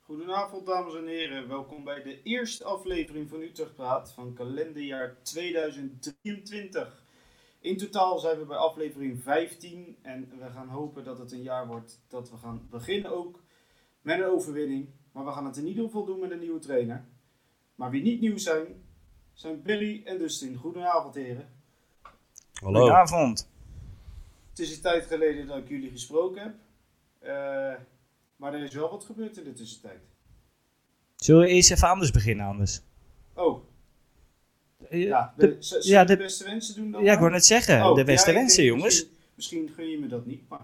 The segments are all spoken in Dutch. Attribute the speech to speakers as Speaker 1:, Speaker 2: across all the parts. Speaker 1: Goedenavond dames en heren, welkom bij de eerste aflevering van Utrecht Praat van kalenderjaar 2023. In totaal zijn we bij aflevering 15 en we gaan hopen dat het een jaar wordt dat we gaan beginnen ook met een overwinning. Maar we gaan het in ieder geval doen met een nieuwe trainer. Maar wie niet nieuw zijn, zijn Billy en Dustin. Goedenavond heren.
Speaker 2: Hallo.
Speaker 3: Goedenavond.
Speaker 1: Het is een tijd geleden dat ik jullie gesproken heb, Eh, maar er is wel wat gebeurd in de tussentijd.
Speaker 3: Zullen we eerst even anders beginnen, anders?
Speaker 1: Oh,
Speaker 3: Eh,
Speaker 1: ja,
Speaker 3: de-
Speaker 1: de, z- zullen
Speaker 3: ja,
Speaker 1: we de
Speaker 3: de-
Speaker 1: beste wensen doen dan?
Speaker 3: ja, ik
Speaker 1: maar?
Speaker 3: wou net zeggen,
Speaker 1: Oh,
Speaker 3: de
Speaker 1: ja,
Speaker 3: beste
Speaker 1: ik
Speaker 3: wensen,
Speaker 1: denk
Speaker 3: jongens.
Speaker 1: Misschien, misschien gun je me dat niet, maar...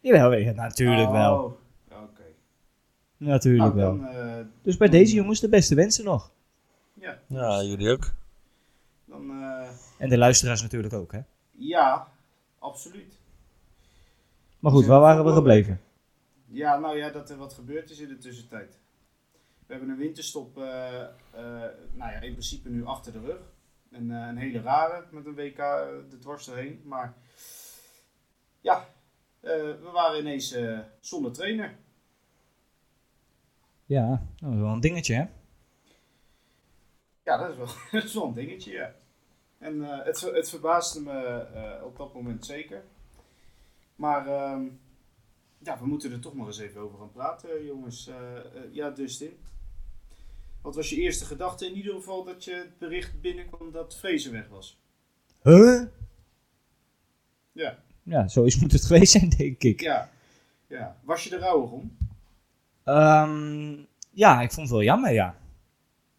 Speaker 3: Jawel, ja, natuurlijk
Speaker 1: Oh,
Speaker 3: wel.
Speaker 1: Oké.
Speaker 3: Natuurlijk
Speaker 1: Nou,
Speaker 3: wel.
Speaker 1: dan, eh,
Speaker 3: Dus bij deze jongens de beste wensen nog.
Speaker 1: ja,
Speaker 2: Ja, jullie ook.
Speaker 1: dan... eh,
Speaker 3: En de luisteraars natuurlijk ook, hè.
Speaker 1: ja, absoluut.
Speaker 3: Maar goed, waar waren we gebleven?
Speaker 1: Ja, nou ja, dat er wat gebeurd is in de tussentijd. We hebben een winterstop, eh, eh, nou ja, in principe nu achter de rug. Een, eh, een hele rare, met een WK eh, de dwars doorheen. Maar ja, eh, we waren ineens eh, zonder trainer.
Speaker 3: Ja, nou, dat is wel een dingetje, hè.
Speaker 1: Ja, dat is wel, dat is wel een dingetje, ja. En eh, het, ver- het verbaasde me eh, op dat moment zeker. Maar ehm, ja, we moeten er toch maar eens even over gaan praten, jongens. Eh, eh, ja, Dustin. Wat was je eerste gedachte in ieder geval dat je het bericht binnenkwam dat Vrezen weg was?
Speaker 3: Huh?
Speaker 1: Ja.
Speaker 3: Ja, zo is moet het geweest zijn, denk ik.
Speaker 1: Ja, ja. was je er rouwig om?
Speaker 3: Ehm, ja, ik vond het wel jammer, ja.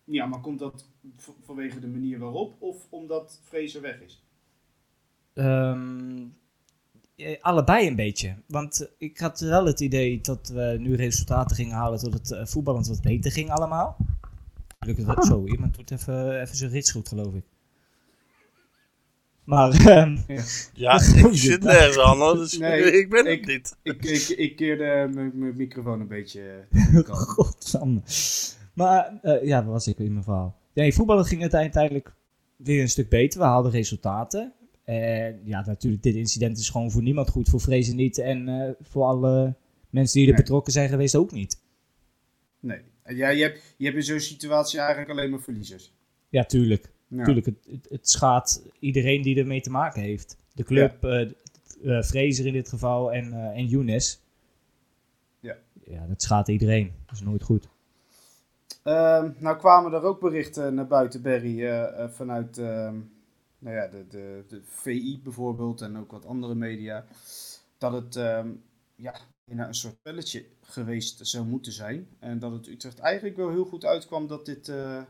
Speaker 1: Ja, maar komt dat v- vanwege de manier waarop of omdat Vrezen weg is?
Speaker 3: Ehm, eh, allebei een beetje. Want eh, ik had wel het idee dat we nu resultaten gingen halen tot het eh, voetballend wat beter ging allemaal. Lukt het wel zo? Iemand doet even, even zijn rits goed, geloof ik. Maar ehm,
Speaker 2: Ja, ik zit nergens anders.
Speaker 1: Nee,
Speaker 2: Dus ik ben het
Speaker 1: ik-
Speaker 2: niet.
Speaker 1: Ik, ik, ik keerde mijn microfoon een beetje eh, tegen de kant.
Speaker 3: Godsamme. Maar eh, ja, dat was ik in mijn verhaal. Nee, voetballen ging het uiteindelijk weer een stuk beter. We haalden resultaten. En ja, natuurlijk, dit incident is gewoon voor niemand goed. Voor Vrezen niet en eh, voor alle mensen die er
Speaker 1: Nee.
Speaker 3: betrokken zijn geweest ook niet.
Speaker 1: Nee. Ja, je, hebt, je hebt in zo'n situatie eigenlijk alleen maar verliezers.
Speaker 3: Ja, tuurlijk.
Speaker 1: Ja.
Speaker 3: tuurlijk het, het, het schaadt iedereen die ermee te maken heeft. De club, eh eh, Fraser in dit geval en, eh en Younes.
Speaker 1: Ja.
Speaker 3: Ja, dat schaadt iedereen. Dat is nooit goed.
Speaker 1: Ehm, nou kwamen er ook berichten naar buiten, Barry, eh, eh, vanuit ehm, nou ja, de, de, de VI bijvoorbeeld en ook wat andere media. Dat het ehm, ja, bijna een soort spelletje geweest zou moeten zijn. En dat het Utrecht eigenlijk wel heel goed uitkwam dat dit, eh,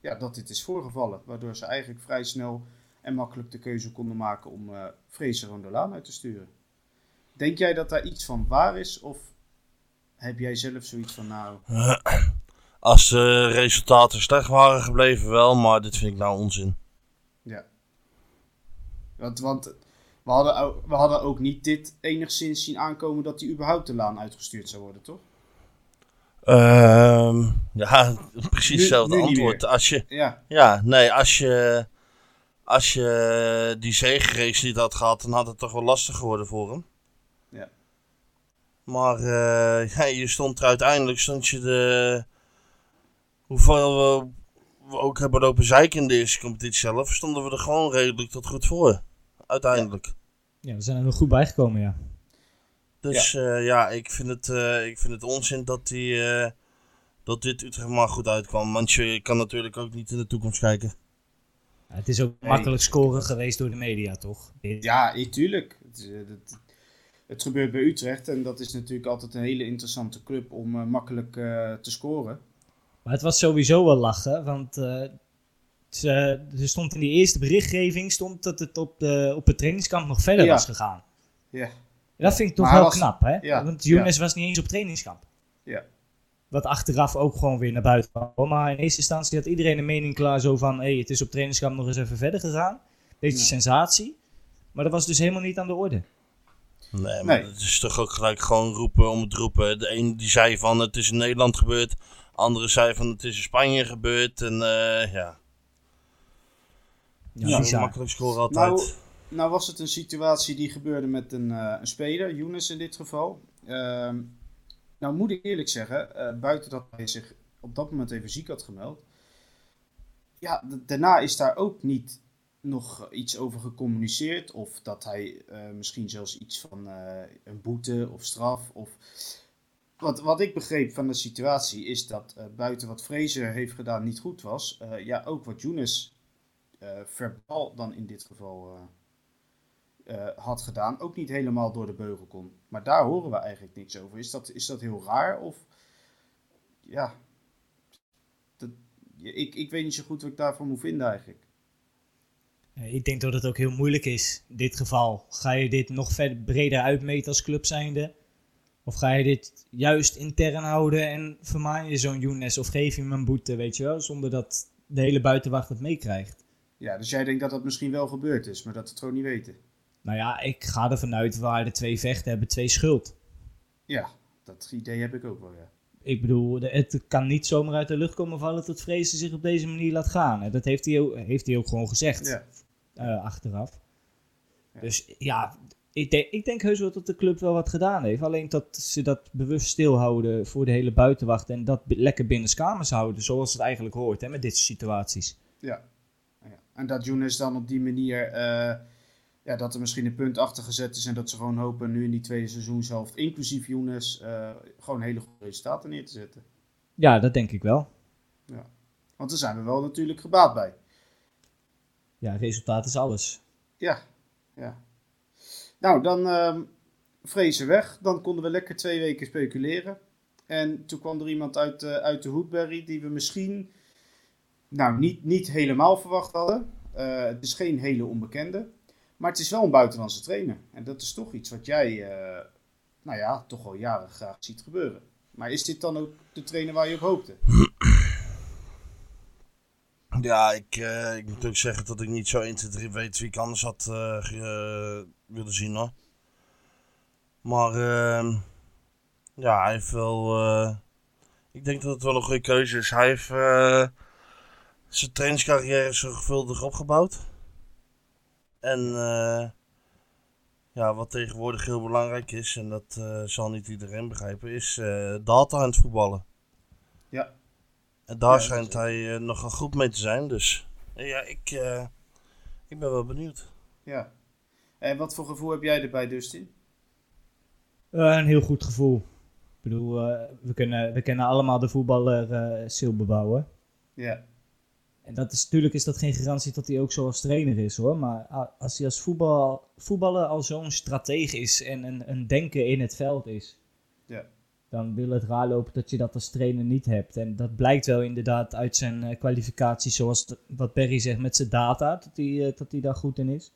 Speaker 1: ja, dat dit is voorgevallen. Waardoor ze eigenlijk vrij snel en makkelijk de keuze konden maken om eh Fraser Rondolaan uit te sturen. Denk jij dat daar iets van waar is? Of heb jij zelf zoiets van nou...
Speaker 2: Als de resultaten slecht waren gebleven wel, maar dit vind ik nou onzin.
Speaker 1: Want, want we, hadden, ook- we hadden ook niet dit enigszins zien aankomen dat hij überhaupt de laan uitgestuurd zou worden, toch?
Speaker 2: Ehm, ja, precies
Speaker 1: Nu-
Speaker 2: hetzelfde
Speaker 1: nu niet
Speaker 2: antwoord. Als je,
Speaker 1: Ja,
Speaker 2: ja, nee, als je, als je die zegenrace niet had gehad, dan had het toch wel lastig geworden voor hem.
Speaker 1: Ja.
Speaker 2: Maar eh, ja, je stond er uiteindelijk, stond je de... Hoeveel we, we ook hebben lopen zeiken in de eerste competitie zelf, stonden we er gewoon redelijk tot goed voor. Uiteindelijk.
Speaker 3: Ja, we zijn er nog goed bijgekomen, ja.
Speaker 2: Dus ja, ja ik, vind het, eh, ik vind het onzin dat, die, eh, dat dit Utrecht maar goed uitkwam. Want je kan natuurlijk ook niet in de toekomst kijken.
Speaker 3: Ja, Het is ook
Speaker 1: Nee.
Speaker 3: makkelijk scoren geweest door de media, toch?
Speaker 1: ja i- tuurlijk. Het, is, eh, dat- het gebeurt bij Utrecht en dat is natuurlijk altijd een hele interessante club om eh, makkelijk eh, te scoren.
Speaker 3: Maar het was sowieso wel lachen, want eh, ze, er stond in die eerste berichtgeving stond dat het op, de, op het trainingskamp nog verder
Speaker 1: Ja.
Speaker 3: was gegaan.
Speaker 1: Ja.
Speaker 3: Dat vind ik toch
Speaker 1: Maar hij
Speaker 3: wel
Speaker 1: was-
Speaker 3: knap, hè?
Speaker 1: ja,
Speaker 3: Want Younes was niet eens op trainingskamp.
Speaker 1: Ja.
Speaker 3: Wat achteraf ook gewoon weer naar buiten kwam. Oh, Maar in eerste instantie had iedereen een mening klaar zo van... hé, hey, het is op trainingskamp nog eens even verder gegaan. Beetje
Speaker 1: Ja.
Speaker 3: sensatie. Maar dat was dus helemaal niet aan de orde.
Speaker 2: Nee, maar
Speaker 1: Nee.
Speaker 2: het is toch ook gelijk gewoon roepen om het roepen. De een die zei van het is in Nederland gebeurd. Andere zei van het is in Spanje gebeurd. En eh, ja,
Speaker 3: Ja,
Speaker 2: ja
Speaker 3: bizar.
Speaker 2: makkelijk scoren altijd.
Speaker 1: Nou, nou was het een situatie die gebeurde met een, eh, een speler, Younes in dit geval. Ehm, Nou moet ik eerlijk zeggen, eh, buiten dat hij zich op dat moment even ziek had gemeld. Ja, d- daarna is daar ook niet nog iets over gecommuniceerd. Of dat hij eh, misschien zelfs iets van eh, een boete of straf. Of... Wat, wat ik begreep van de situatie is dat eh, buiten wat Fraser heeft gedaan niet goed was. eh, ja, ook wat Younes eh, verbaal dan in dit geval eh, eh, had gedaan, ook niet helemaal door de beugel kon. Maar daar horen we eigenlijk niks over. Is dat, is dat heel raar? Of ja, dat, ja, ik, ik weet niet zo goed wat ik daarvan moet vinden eigenlijk.
Speaker 3: Eh, Ik denk dat het ook heel moeilijk is, in dit geval. Ga je dit nog verder breder uitmeten als club zijnde? Of ga je dit juist intern houden en vermaan je zo'n Younes of geef je hem een boete, weet je wel? Zonder dat de hele buitenwacht het meekrijgt.
Speaker 1: Ja, dus jij denkt dat dat misschien wel gebeurd is, maar dat we het gewoon niet weten.
Speaker 3: Nou ja, ik ga ervan uit waar de twee vechten hebben twee schuld.
Speaker 1: Ja, dat idee heb ik ook wel, ja.
Speaker 3: Ik bedoel, de- het kan niet zomaar uit de lucht komen vallen dat Vrezen zich op deze manier laat gaan. En dat heeft hij, ook- heeft hij ook gewoon gezegd.
Speaker 1: ja.
Speaker 3: eh, achteraf.
Speaker 1: Ja.
Speaker 3: Dus ja, ik, denk- ik denk heus wel dat de club wel wat gedaan heeft. Alleen dat ze dat bewust stilhouden voor de hele buitenwacht. En dat b- lekker binnenskamers houden, zoals het eigenlijk hoort hè, met dit soort situaties.
Speaker 1: Ja. ja. En dat Younes dan op die manier, eh, ja, dat er misschien een punt achter gezet is en dat ze gewoon hopen nu in die tweede seizoenshelft, inclusief Younes, eh, gewoon hele goede resultaten neer te zetten.
Speaker 3: Ja, dat denk ik wel.
Speaker 1: Want daar zijn we wel natuurlijk gebaat bij.
Speaker 3: Ja, resultaat is alles.
Speaker 1: Ja, ja. Nou, dan ehm vrezen weg. Dan konden we lekker twee weken speculeren. En toen kwam er iemand uit, eh, uit de Hoedberry die we misschien nou, niet, niet helemaal verwacht hadden. Eh, het is geen hele onbekende. Maar het is wel een buitenlandse trainer. En dat is toch iets wat jij, eh, nou ja, toch al jaren graag ziet gebeuren. Maar is dit dan ook de trainer waar je op hoopte?
Speaker 2: Ja, ik, eh, ik moet ook zeggen dat ik niet zo 1, 2, 3 weet wie ik anders had eh, ge- eh, willen zien hoor. Maar ehm, ja, hij heeft wel. eh, ik denk dat het wel een goede keuze is. Hij heeft eh, zijn trainingscarrière zorgvuldig opgebouwd. En eh, ja, wat tegenwoordig heel belangrijk is, en dat eh, zal niet iedereen begrijpen, is eh, data aan het voetballen.
Speaker 1: Ja.
Speaker 2: En
Speaker 1: Ja,
Speaker 2: daar
Speaker 1: dat
Speaker 2: schijnt
Speaker 1: is
Speaker 2: hij eh, nogal goed mee te zijn, dus eh, ja, ik, eh, ik ben wel benieuwd.
Speaker 1: Ja. En wat voor gevoel heb jij erbij, Dustin?
Speaker 3: Eh, een heel goed gevoel. Ik bedoel, eh, we, kunnen, we kennen allemaal de voetballer eh Silber bouwen.
Speaker 1: Ja.
Speaker 3: En dat is, natuurlijk is dat geen garantie dat hij ook zo als trainer is hoor. Maar a- als hij als voetbal, voetballer al zo'n stratege is en een, een denker in het veld is.
Speaker 1: Ja.
Speaker 3: Dan wil het raar lopen dat je dat als trainer niet hebt. En dat blijkt wel inderdaad uit zijn eh, kwalificatie, zoals de- wat Berry zegt, met zijn data, dat hij, eh, dat hij daar goed in is.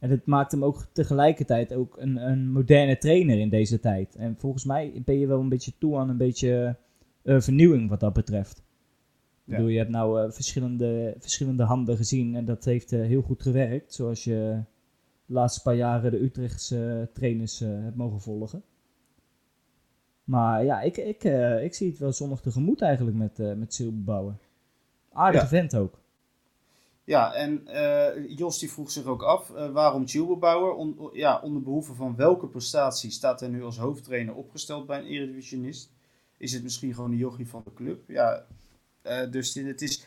Speaker 3: En dat maakt hem ook tegelijkertijd ook een, een moderne trainer in deze tijd. En volgens mij ben je wel een beetje toe aan een beetje eh, vernieuwing wat dat betreft. Ik
Speaker 1: Ja.
Speaker 3: bedoel, je hebt nou eh, verschillende, verschillende handen gezien en dat heeft eh, heel goed gewerkt. Zoals je de laatste paar jaren de Utrechtse eh, trainers eh, hebt mogen volgen. Maar ja, ik, ik, eh, ik zie het wel zonnig tegemoet eigenlijk met, eh met Silberbouwer. Aardige
Speaker 1: Ja.
Speaker 3: vent ook.
Speaker 1: Ja, en eh, Jos die vroeg zich ook af eh, waarom Tjubelbouwer, on, ja, onder behoeve van welke prestatie staat hij nu als hoofdtrainer opgesteld bij een eredivisionist? Is het misschien gewoon de jochie van de club? Ja, eh, dus dit- het is,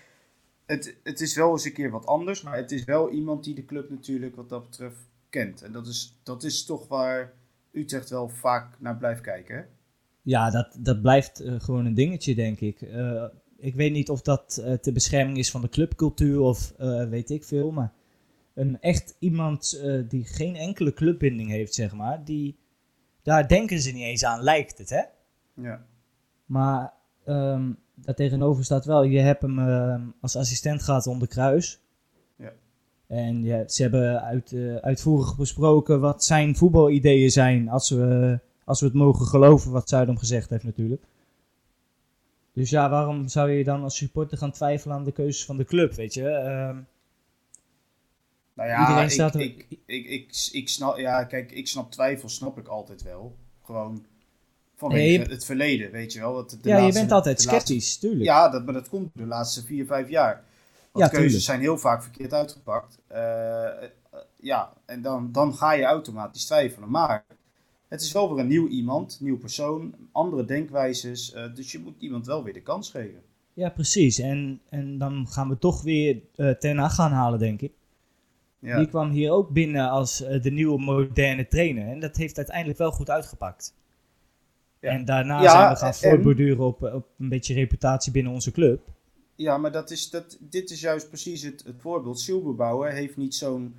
Speaker 1: het, het is wel eens een keer wat anders, maar het is wel iemand die de club natuurlijk wat dat betreft kent. En dat is, dat is toch waar Utrecht wel vaak naar blijft kijken. Hè?
Speaker 3: Ja, dat, dat blijft eh, gewoon een dingetje, denk ik. Eh, ik weet niet of dat eh ter bescherming is van de clubcultuur of eh, weet ik veel, maar een echt iemand eh, die geen enkele clubbinding heeft, zeg maar, die, daar denken ze niet eens aan, lijkt het, hè?
Speaker 1: Ja,
Speaker 3: Maar ehm daar tegenover staat wel, je hebt hem ehm, als assistent gehad onder Kruis.
Speaker 1: Ja.
Speaker 3: En ja, ze hebben uit, eh, uitvoerig besproken wat zijn voetbalideeën zijn, als we, als we het mogen geloven wat Zuidam gezegd heeft natuurlijk. Dus ja, waarom zou je dan als supporter gaan twijfelen aan de keuzes van de club, weet je? Ehm,
Speaker 1: Nou
Speaker 3: Iedereen
Speaker 1: ik-
Speaker 3: staat er-
Speaker 1: ik, ik, ik, ik, snap, ja, kijk, ik snap twijfel, snap ik altijd wel. Gewoon vanwege
Speaker 3: Nee, je-
Speaker 1: het verleden, weet je wel. Dat de
Speaker 3: ja, je
Speaker 1: laatste-
Speaker 3: bent altijd
Speaker 1: de laatste-
Speaker 3: sceptisch, tuurlijk.
Speaker 1: ja, dat, maar dat komt door de laatste vier, vijf jaar. Want keuzes
Speaker 3: Ja, tuurlijk.
Speaker 1: zijn heel vaak verkeerd uitgepakt. Eh, eh, ja, en dan, dan ga je automatisch twijfelen. Maar Het is wel weer een nieuw iemand, nieuw persoon, andere denkwijzes. eh, dus je moet iemand wel weer de kans geven.
Speaker 3: Ja, precies. En, en dan gaan we toch weer eh Ten Hag gaan halen, denk ik.
Speaker 1: Ja.
Speaker 3: Die kwam hier ook binnen als eh, de nieuwe moderne trainer. En dat heeft uiteindelijk wel goed uitgepakt.
Speaker 1: Ja.
Speaker 3: En daarna
Speaker 1: Ja,
Speaker 3: zijn we gaan
Speaker 1: en-
Speaker 3: voortborduren op, eh, op een beetje reputatie binnen onze club.
Speaker 1: Ja, maar dat is, dat, dit is juist precies het, het voorbeeld. Silberbouwer heeft niet zo'n,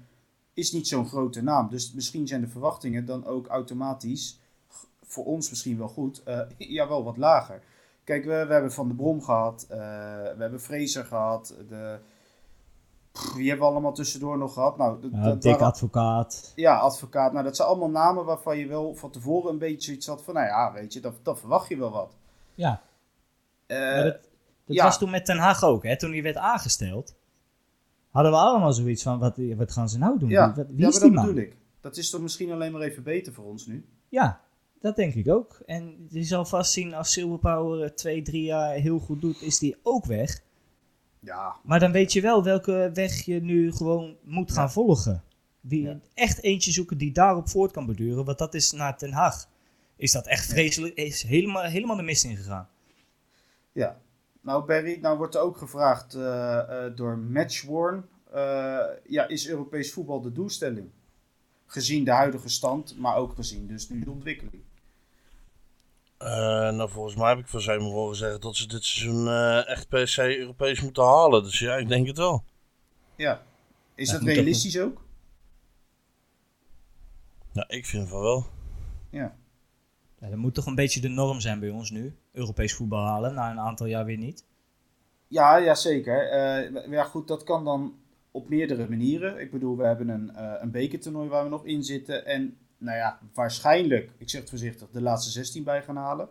Speaker 1: is niet zo'n grote naam. Dus misschien zijn de verwachtingen dan ook automatisch, g- voor ons misschien wel goed, eh, ja, wel wat lager. Kijk, we, we hebben Van de Brom gehad, eh, we hebben Fraser gehad, de, pff, wie hebben we allemaal tussendoor nog gehad? Nou, d-
Speaker 3: Ja,
Speaker 1: dat
Speaker 3: Eh, dik
Speaker 1: waren-
Speaker 3: advocaat.
Speaker 1: ja, advocaat. Nou, dat zijn allemaal namen waarvan je wel van tevoren een beetje zoiets had van, nou ja, weet je, dat, dat verwacht je wel wat.
Speaker 3: Ja,
Speaker 1: Eh,
Speaker 3: maar dat, dat
Speaker 1: ja.
Speaker 3: was toen met Ten Haag ook. Hè? Toen hij werd aangesteld, hadden we allemaal zoiets van, wat, wat gaan ze nou doen?
Speaker 1: ja,
Speaker 3: Wie- wat- wie
Speaker 1: ja,
Speaker 3: is
Speaker 1: maar
Speaker 3: die
Speaker 1: dat
Speaker 3: man?
Speaker 1: bedoel ik. Dat is toch misschien alleen maar even beter voor ons nu?
Speaker 3: Ja, dat denk ik ook. En je zal vast zien als Silverpower eh, twee, drie jaar heel goed doet, is die ook weg.
Speaker 1: Ja,
Speaker 3: Maar dan weet je wel welke weg je nu gewoon moet gaan volgen. Die
Speaker 1: Ja.
Speaker 3: echt eentje zoeken die daarop voort kan beduren. Want dat is naar Den Haag. Is dat echt vreselijk? Is helemaal, helemaal de mist ingegaan.
Speaker 1: ja. Nou Barry, nou wordt er ook gevraagd eh, eh, door Matchworn. eh, ja, is Europees voetbal de doelstelling? Gezien de huidige stand, maar ook gezien dus nu de ontwikkeling.
Speaker 2: Eh, nou, volgens mij heb ik van Zeeman horen zeggen dat ze dit seizoen eh, echt per se Europees moeten halen. Dus ja, ik denk het wel.
Speaker 1: Ja. Is
Speaker 3: Ja,
Speaker 1: dat
Speaker 3: moet ook
Speaker 1: realistisch ook?
Speaker 2: Ja, ik vind van wel.
Speaker 1: Ja.
Speaker 3: Ja, dat moet toch een beetje de norm zijn bij ons nu. Europees voetbal halen, na een aantal jaar weer niet.
Speaker 1: Ja, ja zeker. Eh, ja, goed, dat kan dan op meerdere manieren. Ik bedoel, we hebben een, eh, een bekertoernooi waar we nog in zitten. En nou ja, waarschijnlijk, ik zeg het voorzichtig, de laatste 16 bij gaan halen.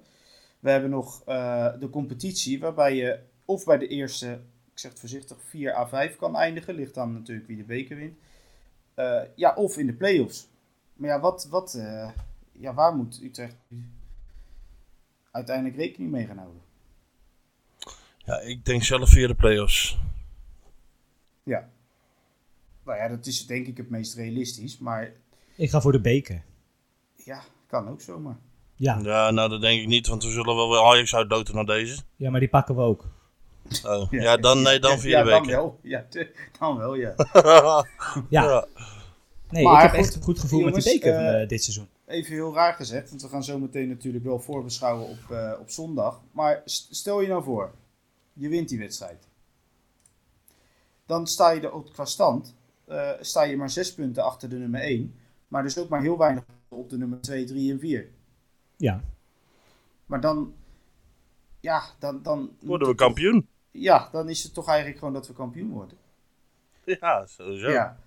Speaker 1: We hebben nog eh, de competitie waarbij je of bij de eerste, ik zeg het voorzichtig, 4 à 5 kan eindigen. Ligt aan natuurlijk wie de beker wint. Eh, ja, of in de play-offs. Maar ja, wat, wat, eh, ja, waar moet Utrecht uiteindelijk rekening mee gaan houden?
Speaker 2: Ja, ik denk zelf via de play-offs.
Speaker 1: Ja. Nou ja, dat is denk ik het meest realistisch. Maar
Speaker 3: Ik ga voor de beker.
Speaker 1: ja, kan ook zomaar.
Speaker 3: Ja,
Speaker 2: Ja, nou dat denk ik niet, want we zullen wel weer Ajax uitdoten naar deze.
Speaker 3: ja maar die pakken we ook.
Speaker 2: Oh, ja, dan, nee, dan via
Speaker 1: ja,
Speaker 2: de
Speaker 1: Dan
Speaker 2: beker.
Speaker 1: wel, ja, te- dan wel, ja.
Speaker 3: Ja,
Speaker 2: Ja.
Speaker 3: nee,
Speaker 1: Maar
Speaker 3: ik heb
Speaker 1: goed,
Speaker 3: echt een goed gevoel met die
Speaker 1: jongens,
Speaker 3: beker van,
Speaker 1: eh,
Speaker 3: eh, dit seizoen.
Speaker 1: Even heel raar gezegd, want we gaan zo meteen natuurlijk wel voorbeschouwen op, eh, op zondag. Maar st- stel je nou voor, je wint die wedstrijd. Dan sta je er op qua stand, eh, sta je maar zes punten achter de nummer 1. Maar dus ook maar heel weinig op de nummer 2, 3 en 4.
Speaker 3: Ja,
Speaker 1: Maar dan, ja, dan... dan
Speaker 2: Worden we kampioen?
Speaker 1: Ja, dan is het toch eigenlijk gewoon dat we kampioen worden.
Speaker 2: Ja, sowieso.
Speaker 1: Ja.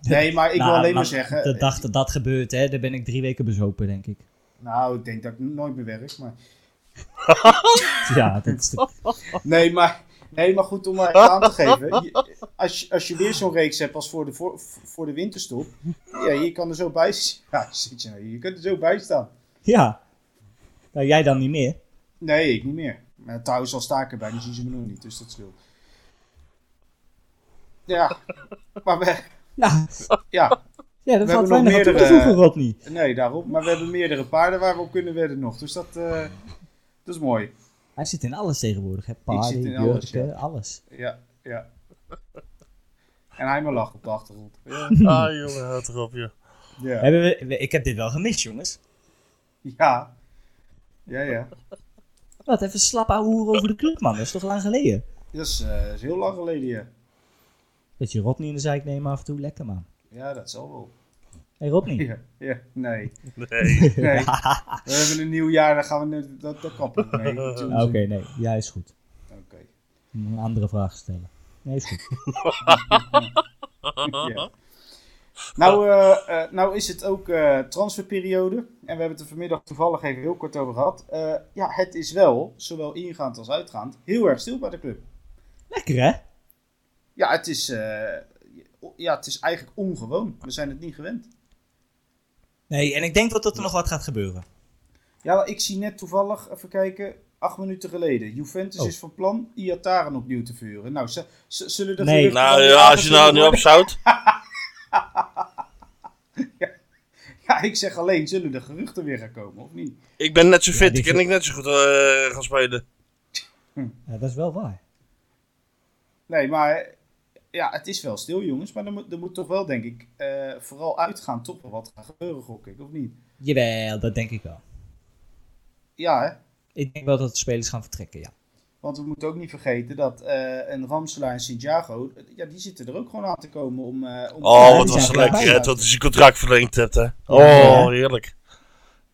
Speaker 1: Nee, maar ik
Speaker 3: Nou,
Speaker 1: wil alleen maar
Speaker 3: maar
Speaker 1: zeggen. eh,
Speaker 3: De dag dat dat gebeurt, hè, daar ben ik drie weken bezopen, denk ik.
Speaker 1: Nou, ik denk dat ik nooit meer werk. Maar...
Speaker 3: Ja, dat is de
Speaker 1: Nee, maar, nee, maar goed om maar even aan te geven. je- als, je, als je weer zo'n reeks hebt als voor de, voor, voor de winterstop. Ja, je kan er zo bij s- ja, zit je, nou, je kunt er zo bij staan.
Speaker 3: Ja. Nou, jij dan niet meer.
Speaker 1: Nee, ik niet meer. Maar trouwens, al sta ik erbij, dan zien ze me nog niet. Dus dat scheelt. Ja, maar we,
Speaker 3: Ja,
Speaker 1: ja,
Speaker 3: ja dat
Speaker 1: We
Speaker 3: valt
Speaker 1: hebben nog
Speaker 3: weinig aan toe te
Speaker 1: meerdere-
Speaker 3: voegen, Rodney.
Speaker 1: nee, daarom. Maar we hebben meerdere paarden waar we op kunnen wedden nog. Dus dat, eh, dat is mooi.
Speaker 3: Hij zit in alles tegenwoordig, hè. Paarden,
Speaker 1: zit in
Speaker 3: jurken,
Speaker 1: alles,
Speaker 3: alles.
Speaker 1: ja. Ja, ja. En hij maar lacht op de achtergrond. Ja,
Speaker 2: Ah jongen, houd erop joh.
Speaker 1: ja,
Speaker 3: Hebben we, we- ik heb dit wel gemist, jongens.
Speaker 1: ja. ja, ja.
Speaker 3: Wat, even slap ouwe hoer over de club, man. Dat is toch lang geleden?
Speaker 1: Dat is, eh, is heel lang geleden, ja.
Speaker 3: Dat je Rodney in de zeik nemen af en toe. Lekker, man.
Speaker 1: Ja, dat zal wel.
Speaker 3: Hé, hey, Rodney.
Speaker 1: Ja, ja, nee.
Speaker 2: Nee.
Speaker 1: nee. We hebben een nieuw jaar, daar gaan we nu- dat, dat kappen we mee. Dat doen we
Speaker 3: Ah, Oké,
Speaker 1: zo.
Speaker 3: nee. Ja, is goed.
Speaker 1: Oké.
Speaker 3: Ik moet Een andere vraag stellen. Nee, is goed.
Speaker 1: Ja. Nou, eh, eh, nou is het ook eh, transferperiode. En we hebben het er vanmiddag toevallig even heel kort over gehad. Eh, ja, het is wel, zowel ingaand als uitgaand, heel erg stil bij de club.
Speaker 3: Lekker, hè?
Speaker 1: Ja, het is, eh, ja, het is eigenlijk ongewoon. We zijn het niet gewend.
Speaker 3: Nee, en ik denk dat er nog wat gaat gebeuren.
Speaker 1: Ja, ik zie net toevallig, even kijken, acht minuten geleden. Juventus
Speaker 3: Oh.
Speaker 1: is van plan Iataren opnieuw te vuren. Nou, z- z- zullen de
Speaker 3: Nee.
Speaker 1: geruchten
Speaker 2: Nou
Speaker 1: dan weer
Speaker 2: ja, als je nou
Speaker 1: aangezonden
Speaker 2: nu
Speaker 1: worden?
Speaker 2: opzout.
Speaker 1: Ja, ik zeg alleen, zullen de geruchten weer gaan komen, of niet?
Speaker 2: Ik ben net zo
Speaker 3: Ja,
Speaker 2: fit,
Speaker 3: die
Speaker 2: ik kan
Speaker 3: fit-
Speaker 2: ik net zo goed eh, gaan spelen.
Speaker 3: Ja, dat is wel waar.
Speaker 1: Nee, maar ja, het is wel stil, jongens. Maar er moet, er moet toch wel, denk ik, eh, vooral uitgaan toch wel wat gaan gebeuren, gok ik, of niet?
Speaker 3: Jawel, dat denk ik wel.
Speaker 1: Ja, hè?
Speaker 3: Ik denk wel dat de spelers gaan vertrekken, ja.
Speaker 1: Want we moeten ook niet vergeten dat eh een Ramselaar en Santiago, ja, die zitten er ook gewoon aan te komen om... eh, om
Speaker 2: Oh,
Speaker 3: Ja,
Speaker 2: wat
Speaker 3: die
Speaker 2: was
Speaker 3: zijn
Speaker 2: het
Speaker 3: er
Speaker 2: lekker
Speaker 3: allebei
Speaker 2: hè,
Speaker 1: uit.
Speaker 2: dat je je contract verlengd hebt hè.
Speaker 3: Ja,
Speaker 2: Oh,
Speaker 3: ja.
Speaker 2: heerlijk.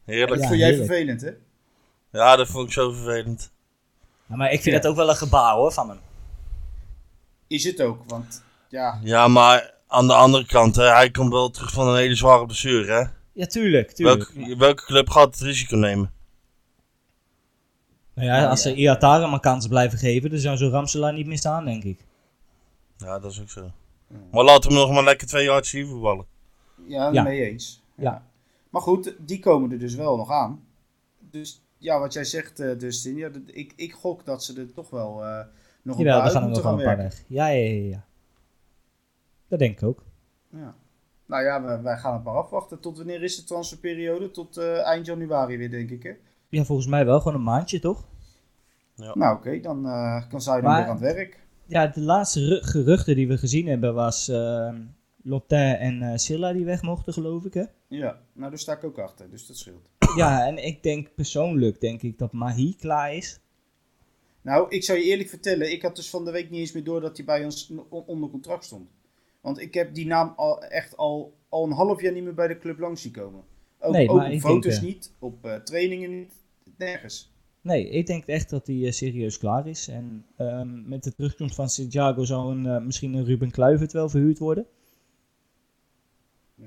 Speaker 2: Heerlijk.
Speaker 1: Dat
Speaker 3: Ja,
Speaker 1: vond jij
Speaker 3: heerlijk.
Speaker 1: vervelend, hè?
Speaker 2: Ja, dat vond ik zo vervelend.
Speaker 3: Ja, maar ik vind
Speaker 1: Ja.
Speaker 3: dat ook wel een gebaar hoor van hem.
Speaker 1: Is het ook, want ja,
Speaker 2: Ja, maar aan de andere kant, hè, hij komt wel terug van een hele zware blessure hè.
Speaker 3: Ja, tuurlijk. tuurlijk.
Speaker 2: Welke, welke club gaat het risico nemen?
Speaker 3: Nou ja,
Speaker 1: Ja,
Speaker 3: als
Speaker 1: ja.
Speaker 3: ze Iatara maar kansen blijven geven, dan zou zo'n Ramselaar niet meer staan, denk ik.
Speaker 2: Ja, dat is ook zo. Maar laten we hem nog maar lekker twee jaar zien voetballen.
Speaker 1: ja,
Speaker 3: Ja.
Speaker 1: mee eens.
Speaker 3: Ja.
Speaker 1: Maar goed, die komen er dus wel nog aan. Dus ja, wat jij zegt, eh Dustin, ja, dat- ik, ik gok dat ze er toch wel eh, nog een
Speaker 3: Jawel,
Speaker 1: paar uit
Speaker 3: dan gaan er
Speaker 1: moeten
Speaker 3: nog
Speaker 1: gaan
Speaker 3: wel een paar
Speaker 1: werken.
Speaker 3: weg. Ja, ja, ja, ja. Dat denk ik ook.
Speaker 1: Ja. Nou ja, we- wij gaan het maar afwachten. Tot wanneer is de transferperiode? Tot eh, eind januari weer, denk ik, hè?
Speaker 3: Ja, volgens mij wel. Gewoon een maandje, toch?
Speaker 1: Nou, oké, dan eh, kan zij dan
Speaker 3: Maar-
Speaker 1: weer aan het werk.
Speaker 3: Ja, de laatste ru- geruchten die we gezien hebben was eh Lotin en eh Silla die weg mochten, geloof ik, hè?
Speaker 1: Ja, nou, daar sta ik ook achter, dus dat scheelt.
Speaker 3: Ja, en ik denk persoonlijk denk ik dat Mahi klaar is.
Speaker 1: Nou, ik zou je eerlijk vertellen, ik had dus van de week niet eens meer door dat hij bij ons n- on- onder contract stond. Want ik heb die naam al, echt al, al een half jaar niet meer bij de club langs zien komen. Ook,
Speaker 3: Nee,
Speaker 1: ook
Speaker 3: maar
Speaker 1: op
Speaker 3: ik
Speaker 1: foto's
Speaker 3: denk, eh,
Speaker 1: niet, op eh, trainingen niet, nergens.
Speaker 3: Nee, ik denk echt dat hij eh, serieus klaar is. En ehm, met de terugkomst van Santiago zou een, eh, misschien een Ruben Kluivert wel verhuurd worden.
Speaker 1: Ja.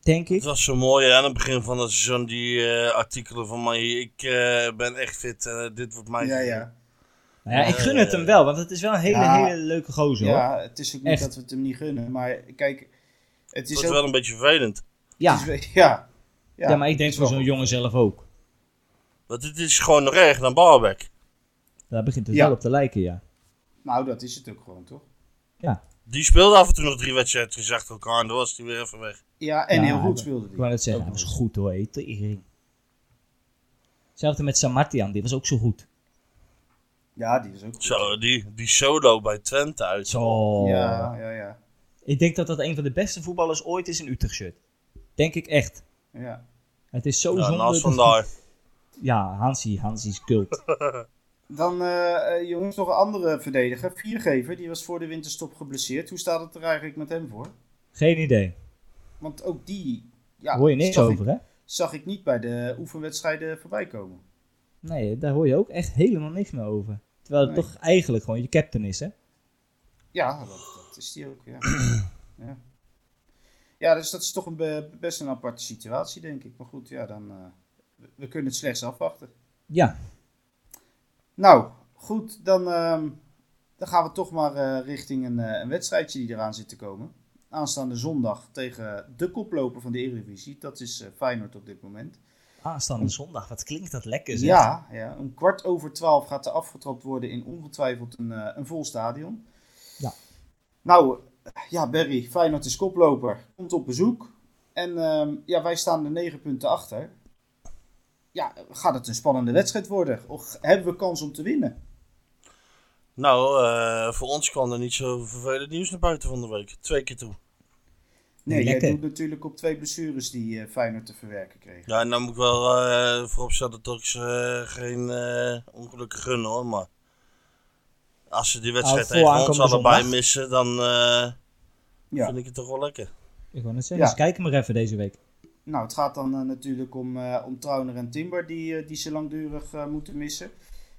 Speaker 3: Denk ik.
Speaker 2: Het was zo mooi hè, aan het begin van het seizoen, die eh, artikelen van mij. Ik eh, ben echt fit, eh, dit wordt mijn...
Speaker 1: Ja, ja.
Speaker 3: Nou ja, ik gun het
Speaker 2: eh,
Speaker 3: hem wel, want het is wel een hele,
Speaker 1: Ja.
Speaker 3: hele leuke gozer hoor.
Speaker 1: ja, het is ook niet
Speaker 3: Echt.
Speaker 1: dat we het hem niet gunnen, maar kijk, het
Speaker 2: Het
Speaker 1: is
Speaker 2: wordt
Speaker 1: ook...
Speaker 2: wel een beetje vervelend.
Speaker 3: Ja.
Speaker 1: het is- ja.
Speaker 3: Ja, maar ik denk
Speaker 1: het is
Speaker 3: voor
Speaker 1: wel
Speaker 3: zo'n
Speaker 1: goed.
Speaker 3: jongen zelf ook.
Speaker 2: Want dit is gewoon nog erg naar Barbeck.
Speaker 3: Daar begint het
Speaker 1: Ja.
Speaker 3: wel op te lijken, ja.
Speaker 1: Nou, dat is het ook gewoon, toch?
Speaker 2: Die speelde af en toe nog drie wedstrijdjes achter elkaar en dan was hij weer even weg.
Speaker 1: Ja, en
Speaker 3: Ja,
Speaker 1: heel goed
Speaker 3: dat-
Speaker 1: speelde
Speaker 3: Ik
Speaker 1: die.
Speaker 3: wou net zeggen,
Speaker 1: Ook
Speaker 3: dat was
Speaker 1: nog eens.
Speaker 3: goed hoor, hé, tering. Hetzelfde met Samartian, die was ook zo goed.
Speaker 1: Ja, die was ook goed.
Speaker 2: Zo, die, die solo bij Twente uit.
Speaker 3: Zo.
Speaker 1: Ja, ja, ja.
Speaker 3: Ik denk dat dat een van de beste voetballers ooit is in Utrecht shirt. Denk ik echt.
Speaker 1: ja.
Speaker 3: Het is zo
Speaker 2: Ja,
Speaker 3: zonde.
Speaker 2: naast
Speaker 3: dat-
Speaker 2: van daar.
Speaker 3: Ja, Hansi, Hansi is cult.
Speaker 1: Dan, eh, eh, jongens, nog een andere verdediger. Viergever, die was voor de winterstop geblesseerd. Hoe staat het er eigenlijk met hem voor?
Speaker 3: Geen idee.
Speaker 1: Want ook die ja,
Speaker 3: hoor je niks
Speaker 1: zag,
Speaker 3: over,
Speaker 1: ik,
Speaker 3: hè?
Speaker 1: zag ik niet bij de oefenwedstrijden voorbij komen.
Speaker 3: Nee, daar hoor je ook echt helemaal niks meer over. Terwijl het
Speaker 1: Nee.
Speaker 3: toch eigenlijk gewoon je captain is, hè?
Speaker 1: Ja, dat, dat is die ook, ja. ja. Ja, dus dat is toch een be- best een aparte situatie, denk ik. Maar goed, ja, dan... eh, we- we kunnen het slechts afwachten.
Speaker 3: Ja.
Speaker 1: Nou, goed, dan, ehm, dan gaan we toch maar eh, richting een, eh, een wedstrijdje die eraan zit te komen. Aanstaande zondag tegen de koploper van de Eredivisie. Dat is eh, Feyenoord op dit moment.
Speaker 3: Aanstaande zondag, wat klinkt dat lekker, zeg.
Speaker 1: Ja, ja, om kwart over twaalf gaat er afgetrapt worden in ongetwijfeld een, eh, een vol stadion.
Speaker 3: Ja.
Speaker 1: Nou, eh, ja, Berry, Feyenoord is koploper. Komt op bezoek. En ehm, ja, wij staan er negen punten achter. Ja, gaat het een spannende wedstrijd worden? Of hebben we kans om te winnen?
Speaker 2: Nou, eh, voor ons kwam er niet zo vervelend nieuws naar buiten van de week. Twee keer toe.
Speaker 1: Nee, jij
Speaker 3: Lekker.
Speaker 1: doet natuurlijk op twee blessures die eh Feyenoord te verwerken kreeg.
Speaker 2: Ja, en dan moet ik wel eh vooropstellen dat ik ze eh, geen eh, ongelukken gunnen hoor. Maar als ze die wedstrijd
Speaker 3: Ah, voor
Speaker 2: tegen ons
Speaker 3: aankomende
Speaker 2: allebei
Speaker 3: zondag.
Speaker 2: missen, dan eh,
Speaker 1: Ja.
Speaker 2: vind ik het toch wel lekker.
Speaker 3: Ik wou net zeggen,
Speaker 1: Ja.
Speaker 3: dus kijk hem maar even deze week.
Speaker 1: Nou, het gaat dan eh, natuurlijk om, eh om Trauner en Timber die, eh, die ze langdurig eh, moeten missen.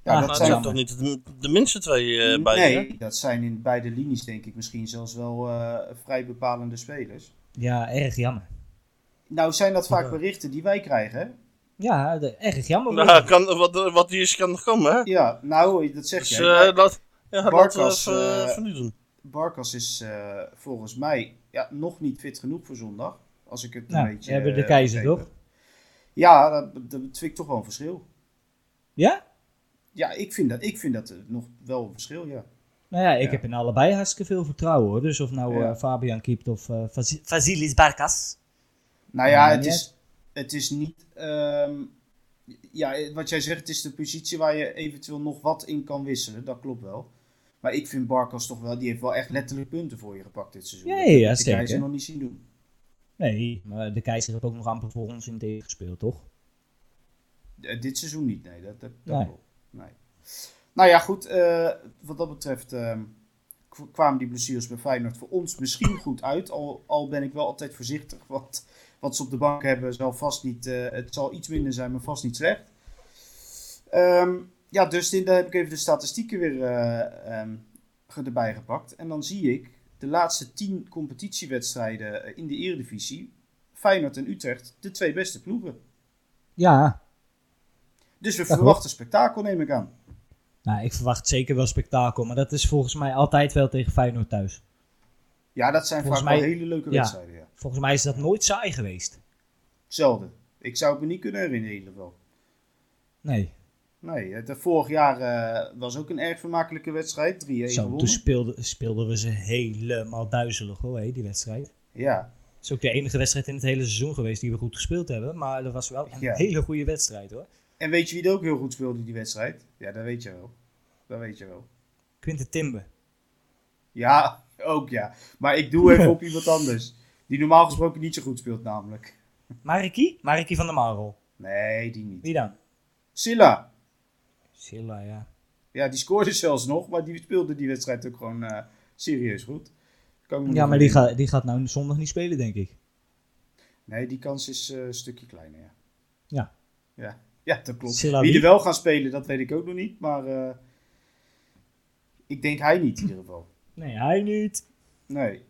Speaker 1: Ja,
Speaker 3: Ah,
Speaker 1: dat
Speaker 2: Nou, dat
Speaker 1: zijn
Speaker 2: zijn toch niet de, de minste twee eh, bij je, hè?
Speaker 1: nee, dat zijn in beide linies denk ik misschien zelfs wel eh, vrij bepalende spelers.
Speaker 3: Ja, erg jammer.
Speaker 1: Nou, zijn dat vaak
Speaker 2: Ja.
Speaker 1: berichten die wij krijgen? hè?
Speaker 3: Ja, de- erg jammer.
Speaker 2: Nou, kan, wat, wat hier is, kan nog komen, hè?
Speaker 1: Ja, nou, dat zeg
Speaker 2: Dus
Speaker 1: jij.
Speaker 2: eh, laat, ja, laten we
Speaker 1: Barkas,
Speaker 2: even eh,
Speaker 1: eh,
Speaker 2: van nu doen.
Speaker 1: Barkas is eh, volgens mij ja, nog niet fit genoeg voor zondag. Als ik het een
Speaker 3: Nou,
Speaker 1: beetje...
Speaker 3: we hebben de
Speaker 1: eh,
Speaker 3: keizer,
Speaker 1: begreep
Speaker 3: toch?
Speaker 1: heb. Ja, dat, dat vind ik toch wel een verschil.
Speaker 3: Ja?
Speaker 1: Ja, ik vind dat, ik vind dat eh, nog wel een verschil, ja.
Speaker 3: Nou ja, ik
Speaker 1: Ja.
Speaker 3: heb in allebei hartstikke veel vertrouwen, hoor. Dus of nou
Speaker 1: Ja.
Speaker 3: eh, Fabian keept of eh Fas- Vasilis Barkas.
Speaker 1: Nou ja,
Speaker 3: Ja,
Speaker 1: het
Speaker 3: ja.
Speaker 1: is, het is niet. ehm, ja, wat jij zegt, het is de positie waar je eventueel nog wat in kan wisselen. Dat klopt wel. Maar ik vind Barkas toch wel, die heeft wel echt letterlijk punten voor je gepakt dit seizoen.
Speaker 3: Ja, ja, ja,
Speaker 1: Dat kan je ze
Speaker 3: zeker.
Speaker 1: nog niet zien doen.
Speaker 3: Nee, maar de keizer heeft ook nog amper voor ons in tegen gespeeld, toch?
Speaker 1: Eh, dit seizoen niet, nee. Dat, dat, dat
Speaker 3: Nee.
Speaker 1: klopt. Nee. Nou ja, goed. eh, wat dat betreft ehm, k- kwamen die blessures bij Feyenoord voor ons misschien goed uit. Al, al ben ik wel altijd voorzichtig. Want wat ze op de bank hebben zal vast niet... eh, het zal iets minder zijn, maar vast niet slecht. Ehm, ja, Dustin, daar heb ik even de statistieken weer eh, ehm, ge- erbij gepakt. En dan zie ik de laatste tien competitiewedstrijden eh, in de Eredivisie... Feyenoord en Utrecht, de twee beste ploegen.
Speaker 3: Ja,
Speaker 1: Dus we
Speaker 3: goed.
Speaker 1: verwachten spektakel, neem ik aan.
Speaker 3: nou, ik verwacht zeker wel spektakel, maar dat is volgens mij altijd wel tegen Feyenoord thuis.
Speaker 1: Ja, dat zijn
Speaker 3: Volgens
Speaker 1: vaak wel
Speaker 3: mij-
Speaker 1: hele leuke
Speaker 3: ja.
Speaker 1: wedstrijden. Ja.
Speaker 3: Volgens mij is dat nooit saai geweest.
Speaker 1: Zelden. Ik zou het me niet kunnen herinneren in ieder geval.
Speaker 3: Nee,
Speaker 1: Nee, het, eh, vorig jaar eh, was ook een erg vermakelijke wedstrijd. 3-1
Speaker 3: zo, dus-
Speaker 1: gewonnen.
Speaker 3: toen speelden, speelden we ze helemaal duizelig hoor, hé, die wedstrijd.
Speaker 1: Ja,
Speaker 3: Het is ook de enige wedstrijd in het hele seizoen geweest die we goed gespeeld hebben, maar dat was wel een
Speaker 1: Ja.
Speaker 3: hele goede wedstrijd hoor.
Speaker 1: en weet je wie er ook heel goed speelde die wedstrijd? Ja, dat weet je wel. Dat weet je wel.
Speaker 3: Quinten Timber.
Speaker 1: Ja, ook ja. Maar ik doe even op iemand anders. Die normaal gesproken niet zo goed speelt namelijk.
Speaker 3: Mariki? Mariki van der Marel.
Speaker 1: Nee, die niet.
Speaker 3: Wie dan?
Speaker 1: Silla.
Speaker 3: Silla, ja.
Speaker 1: Ja, die scoorde zelfs nog, maar die speelde die wedstrijd ook gewoon eh, serieus goed. Kan ik me
Speaker 3: Ja,
Speaker 1: nog
Speaker 3: maar die,
Speaker 1: herinneren.
Speaker 3: gaat die gaat nou zondag niet spelen, denk ik.
Speaker 1: Nee, die kans is eh, een stukje kleiner, ja.
Speaker 3: Ja.
Speaker 1: Ja, ja dat klopt.
Speaker 3: Silla
Speaker 1: wie
Speaker 3: wie?
Speaker 1: er wel gaan spelen, dat weet ik ook nog niet. Maar eh, ik denk hij niet in ieder geval.
Speaker 3: Nee, hij niet.
Speaker 1: Nee.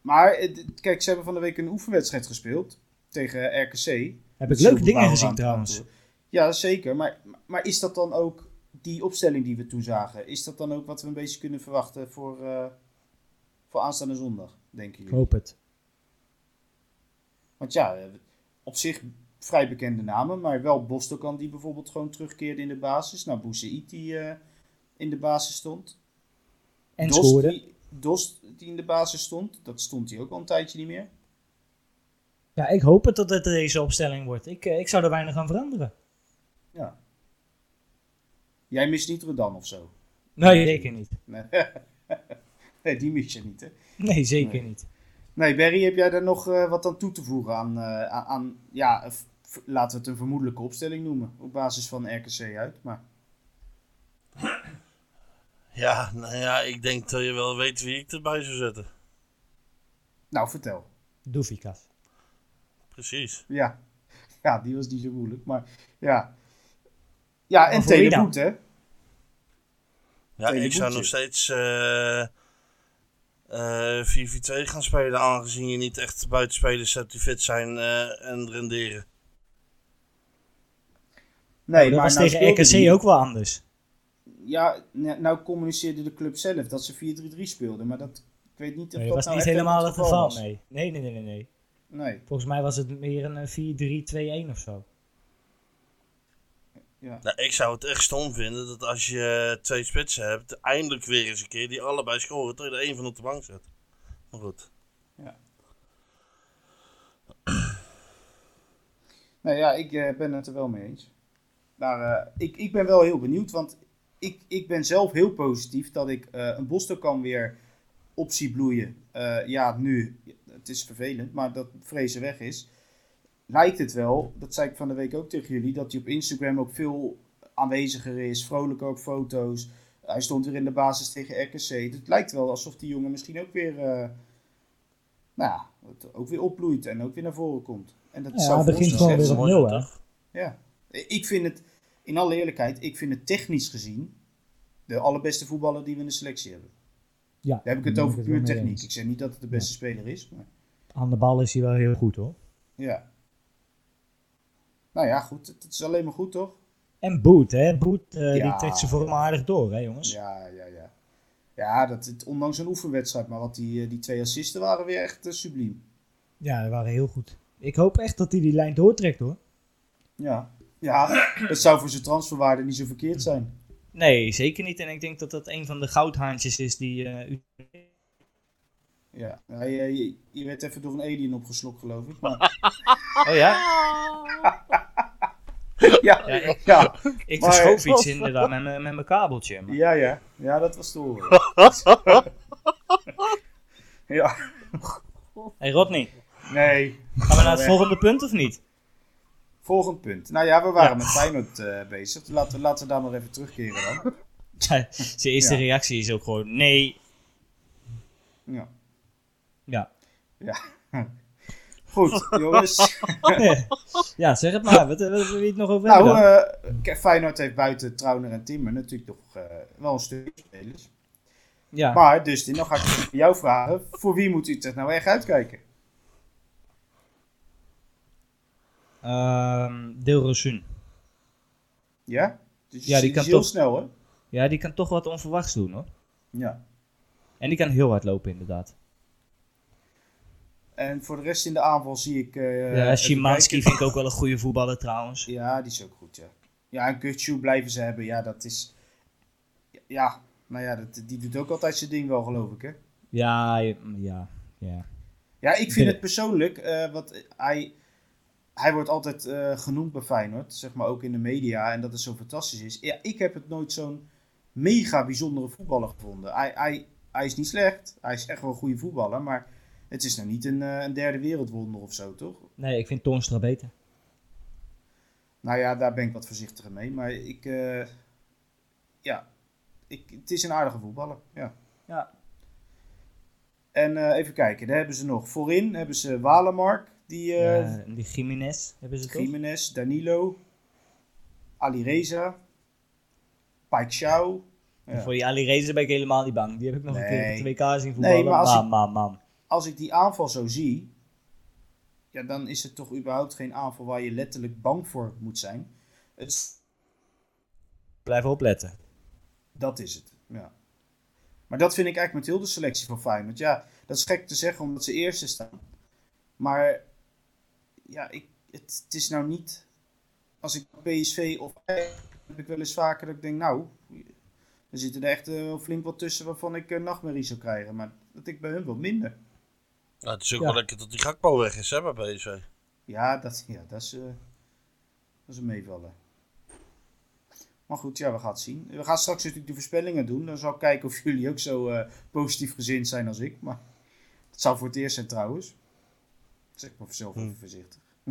Speaker 1: Maar eh, d- kijk, ze hebben van de week een oefenwedstrijd gespeeld tegen RKC.
Speaker 3: Heb ik leuke dingen
Speaker 1: Zilverbouw
Speaker 3: gezien
Speaker 1: aan-
Speaker 3: trouwens.
Speaker 1: Ja, zeker. Maar, maar is dat dan ook die opstelling die we toen zagen? Is dat dan ook wat we een beetje kunnen verwachten voor, eh, voor aanstaande zondag, denken
Speaker 3: Ik
Speaker 1: jullie?
Speaker 3: hoop het.
Speaker 1: Want ja, eh, op zich vrij bekende namen, maar wel Bostokan die bijvoorbeeld gewoon terugkeerde in de basis. Nou, Boussaïd die eh, in de basis stond.
Speaker 3: En
Speaker 1: Dost
Speaker 3: scoren.
Speaker 1: Die, Dost die in de basis stond, dat stond hij ook al een tijdje niet meer.
Speaker 3: Ja, ik hoop het dat het deze opstelling wordt. Ik, eh, ik zou er weinig aan veranderen.
Speaker 1: Ja. Jij mist niet Rodan of zo?
Speaker 3: Nee, zeker niet.
Speaker 1: Nee. nee, die mis je niet hè.
Speaker 3: Nee, zeker
Speaker 1: Nee.
Speaker 3: niet.
Speaker 1: Nee, Barry, heb jij daar nog eh, wat aan toe te voegen aan, eh, aan, aan- ja, eh, v- laten we het een vermoedelijke opstelling noemen, op basis van RKC uit, maar...
Speaker 2: Ja, nou ja, ik denk dat je wel weet wie ik erbij zou zetten.
Speaker 1: Nou, vertel.
Speaker 3: Doefikas.
Speaker 2: Precies.
Speaker 1: Ja. ja, die was niet zo moeilijk, maar ja. Ja, en
Speaker 3: Maar voor wie dan?
Speaker 1: Teleboet, hè?
Speaker 2: Ja,
Speaker 1: Tegen
Speaker 2: ik zou nog
Speaker 1: Boetje.
Speaker 2: steeds eh eh 4-4-2 gaan spelen, aangezien je niet echt buitenspelers hebt die fit zijn eh, en renderen.
Speaker 3: Nee, dat was
Speaker 1: nou
Speaker 3: tegen
Speaker 1: speelde
Speaker 3: RKC
Speaker 1: die-
Speaker 3: ook wel anders.
Speaker 1: Ja, nou nou communiceerde de club zelf dat ze 4-3-3 speelden, maar dat, ik weet niet of dat
Speaker 3: Nee, dat was
Speaker 1: nou
Speaker 3: niet
Speaker 1: echt
Speaker 3: helemaal het geval.
Speaker 1: was.
Speaker 3: Nee. Nee, nee, nee, nee, nee.
Speaker 1: Nee,
Speaker 3: Volgens mij was het meer een eh, 4-3-2-1 of zo.
Speaker 1: ja.
Speaker 2: Nou, ik zou het echt stom vinden dat als je twee spitsen hebt, eindelijk weer eens een keer die allebei scoren, dat je er één van op de bank zet. Maar goed.
Speaker 1: Nou ja, ik eh, ben het er wel mee eens. Maar eh, ik, ik ben wel heel benieuwd, want ik, ik ben zelf heel positief dat ik eh, een Boston kan weer op zie bloeien. Eh, ja, nu, het is vervelend, maar dat vrezen weg is. Lijkt het wel, dat zei ik van de week ook tegen jullie, dat hij op Instagram ook veel aanweziger is. Vrolijker op foto's. Hij stond weer in de basis tegen RKC. Het lijkt wel alsof die jongen misschien ook weer, eh, nou ja, het ook weer opbloeit en ook weer naar voren komt. En dat
Speaker 3: Ja,
Speaker 1: zou
Speaker 3: hij
Speaker 1: voor ons
Speaker 3: begint
Speaker 1: een
Speaker 3: gewoon weer
Speaker 1: zet
Speaker 3: op
Speaker 1: zijn.
Speaker 3: nul, hè?
Speaker 1: Ja, ik vind het, in alle eerlijkheid, ik vind het technisch gezien de allerbeste voetballer die we in de selectie hebben.
Speaker 3: Ja,
Speaker 1: Daar heb ik het
Speaker 3: daar
Speaker 1: over
Speaker 3: ben
Speaker 1: puur
Speaker 3: wel mee
Speaker 1: techniek.
Speaker 3: eens.
Speaker 1: Ik zeg niet dat het de beste speler is, maar
Speaker 3: Aan de bal is hij wel heel goed hoor.
Speaker 1: ja. Nou ja, goed, het, het is alleen maar goed toch?
Speaker 3: En Boet, hè? Boet, eh,
Speaker 1: Ja.
Speaker 3: die trekt ze voor hem aardig door, hè jongens?
Speaker 1: Ja, ja, ja. Ja, dat, het, ondanks een oefenwedstrijd, maar wat die, eh, die twee assisten waren weer echt eh, subliem.
Speaker 3: Ja, die waren heel goed. Ik hoop echt dat hij die lijn doortrekt hoor.
Speaker 1: Ja. ja, dat zou voor zijn transferwaarde niet zo verkeerd zijn.
Speaker 3: Nee, zeker niet. En ik denk dat dat een van de goudhaantjes is die eh,
Speaker 1: Ja, hij, eh, je, je werd even door een alien opgeslokt, geloof ik. Maar, Ah!
Speaker 3: Oh ja?
Speaker 1: ja,
Speaker 3: Ja,
Speaker 1: ja,
Speaker 3: ik-
Speaker 1: ja,
Speaker 3: Ik
Speaker 1: Maar-
Speaker 3: verschoof iets inderdaad met, mijn- met mijn kabeltje. maar-
Speaker 1: ja, ja, dat was te horen. ja,
Speaker 3: Hey Rodney,
Speaker 1: nee.
Speaker 3: gaan we naar het
Speaker 1: weg.
Speaker 3: volgende punt of niet?
Speaker 1: Volgend punt. Nou ja, we waren met Feyenoord eh, bezig. Laten, we- laten we daar maar even terugkeren dan.
Speaker 3: Ja, zijn eerste
Speaker 1: Ja.
Speaker 3: reactie is ook gewoon nee.
Speaker 1: Ja.
Speaker 3: Ja.
Speaker 1: Goed, jongens.
Speaker 3: ja, zeg het maar. Wat, wat wil je het nog over
Speaker 1: nou,
Speaker 3: hebben? dan?
Speaker 1: eh, kijk, Feyenoord heeft buiten Trauner en Timmer natuurlijk nog eh, wel een stuk spelers.
Speaker 3: ja.
Speaker 1: eh, Maar, Dustin, dan ga ik even jou vragen. Voor wie moet Utrecht nou echt uitkijken?
Speaker 3: Ehm, Deel Rosun.
Speaker 1: Ja? Dus
Speaker 3: Ja, die kan
Speaker 1: is heel
Speaker 3: toch-
Speaker 1: snel, hè?
Speaker 3: Ja, die kan toch wat onverwachts doen hoor.
Speaker 1: Ja.
Speaker 3: En die kan heel hard lopen inderdaad.
Speaker 1: En voor de rest in de aanval zie ik... eh
Speaker 3: ja,
Speaker 1: even
Speaker 3: Szymanski
Speaker 1: kijken.
Speaker 3: vind ik ook wel een goede voetballer trouwens.
Speaker 1: Ja, die is ook goed, ja. Ja, en Kutsu blijven ze hebben. Ja, dat is... Ja, nou ja, dat, die doet ook altijd zijn ding wel, geloof ik, hè?
Speaker 3: Ja, ja, ja. ja.
Speaker 1: Ja, ik vind
Speaker 3: Ja.
Speaker 1: het persoonlijk, eh wat hij, hij wordt altijd eh, genoemd bij Feyenoord, zeg maar ook in de media, en dat het zo fantastisch is. Ja, ik heb het nooit zo'n mega bijzondere voetballer gevonden. Hij, hij, hij is niet slecht, hij is echt wel een goede voetballer, maar het is nou niet een, eh, een derde wereldwonder of zo, toch?
Speaker 3: Nee, ik vind Toornstra beter.
Speaker 1: Nou ja, daar ben ik wat voorzichtiger mee, maar ik, eh, ja, ik, het is een aardige voetballer, ja.
Speaker 3: Ja.
Speaker 1: En eh, even kijken, daar hebben ze nog. Voorin hebben ze Walemark, die eh,
Speaker 3: Ja, die Jiménez hebben ze toch?
Speaker 1: Jiménez, Danilo, Ali Reza, Paik Chau. Ja.
Speaker 3: Voor die Ali Reza ben ik helemaal niet bang. Die heb ik nog een keer
Speaker 1: Nee.
Speaker 3: op de 2K zien voetballen.
Speaker 1: maar als
Speaker 3: man,
Speaker 1: ik-
Speaker 3: man, man.
Speaker 1: Als ik die aanval zo zie, ja, dan is het toch überhaupt geen aanval waar je letterlijk bang voor moet zijn. Het is-
Speaker 3: Blijf opletten.
Speaker 1: dat is het. Ja. Maar dat vind ik eigenlijk met heel de selectie van Feyenoord. Ja, dat is gek te zeggen omdat ze eerste staan. Maar ja, ik, het, het is nou niet. Als ik PSV of Ajax, heb ik wel eens vaker dat ik denk, nou, er zitten er echt eh, wel flink wat tussen waarvan ik eh, nachtmerrie zou krijgen. Maar dat ik bij hun wel minder.
Speaker 2: Nou, het is ook
Speaker 3: Ja.
Speaker 2: wel lekker dat die Gakpo weg is, hè, bij PSV.
Speaker 1: Ja, dat, ja, dat, is, eh, dat is een meevallen. Maar goed, ja, we gaan het zien. We gaan straks natuurlijk de voorspellingen doen. Dan zal ik kijken of jullie ook zo eh, positief gezind zijn als ik. Maar het zou voor het eerst zijn trouwens. Zeg maar
Speaker 2: Hm.
Speaker 1: zelf even voorzichtig.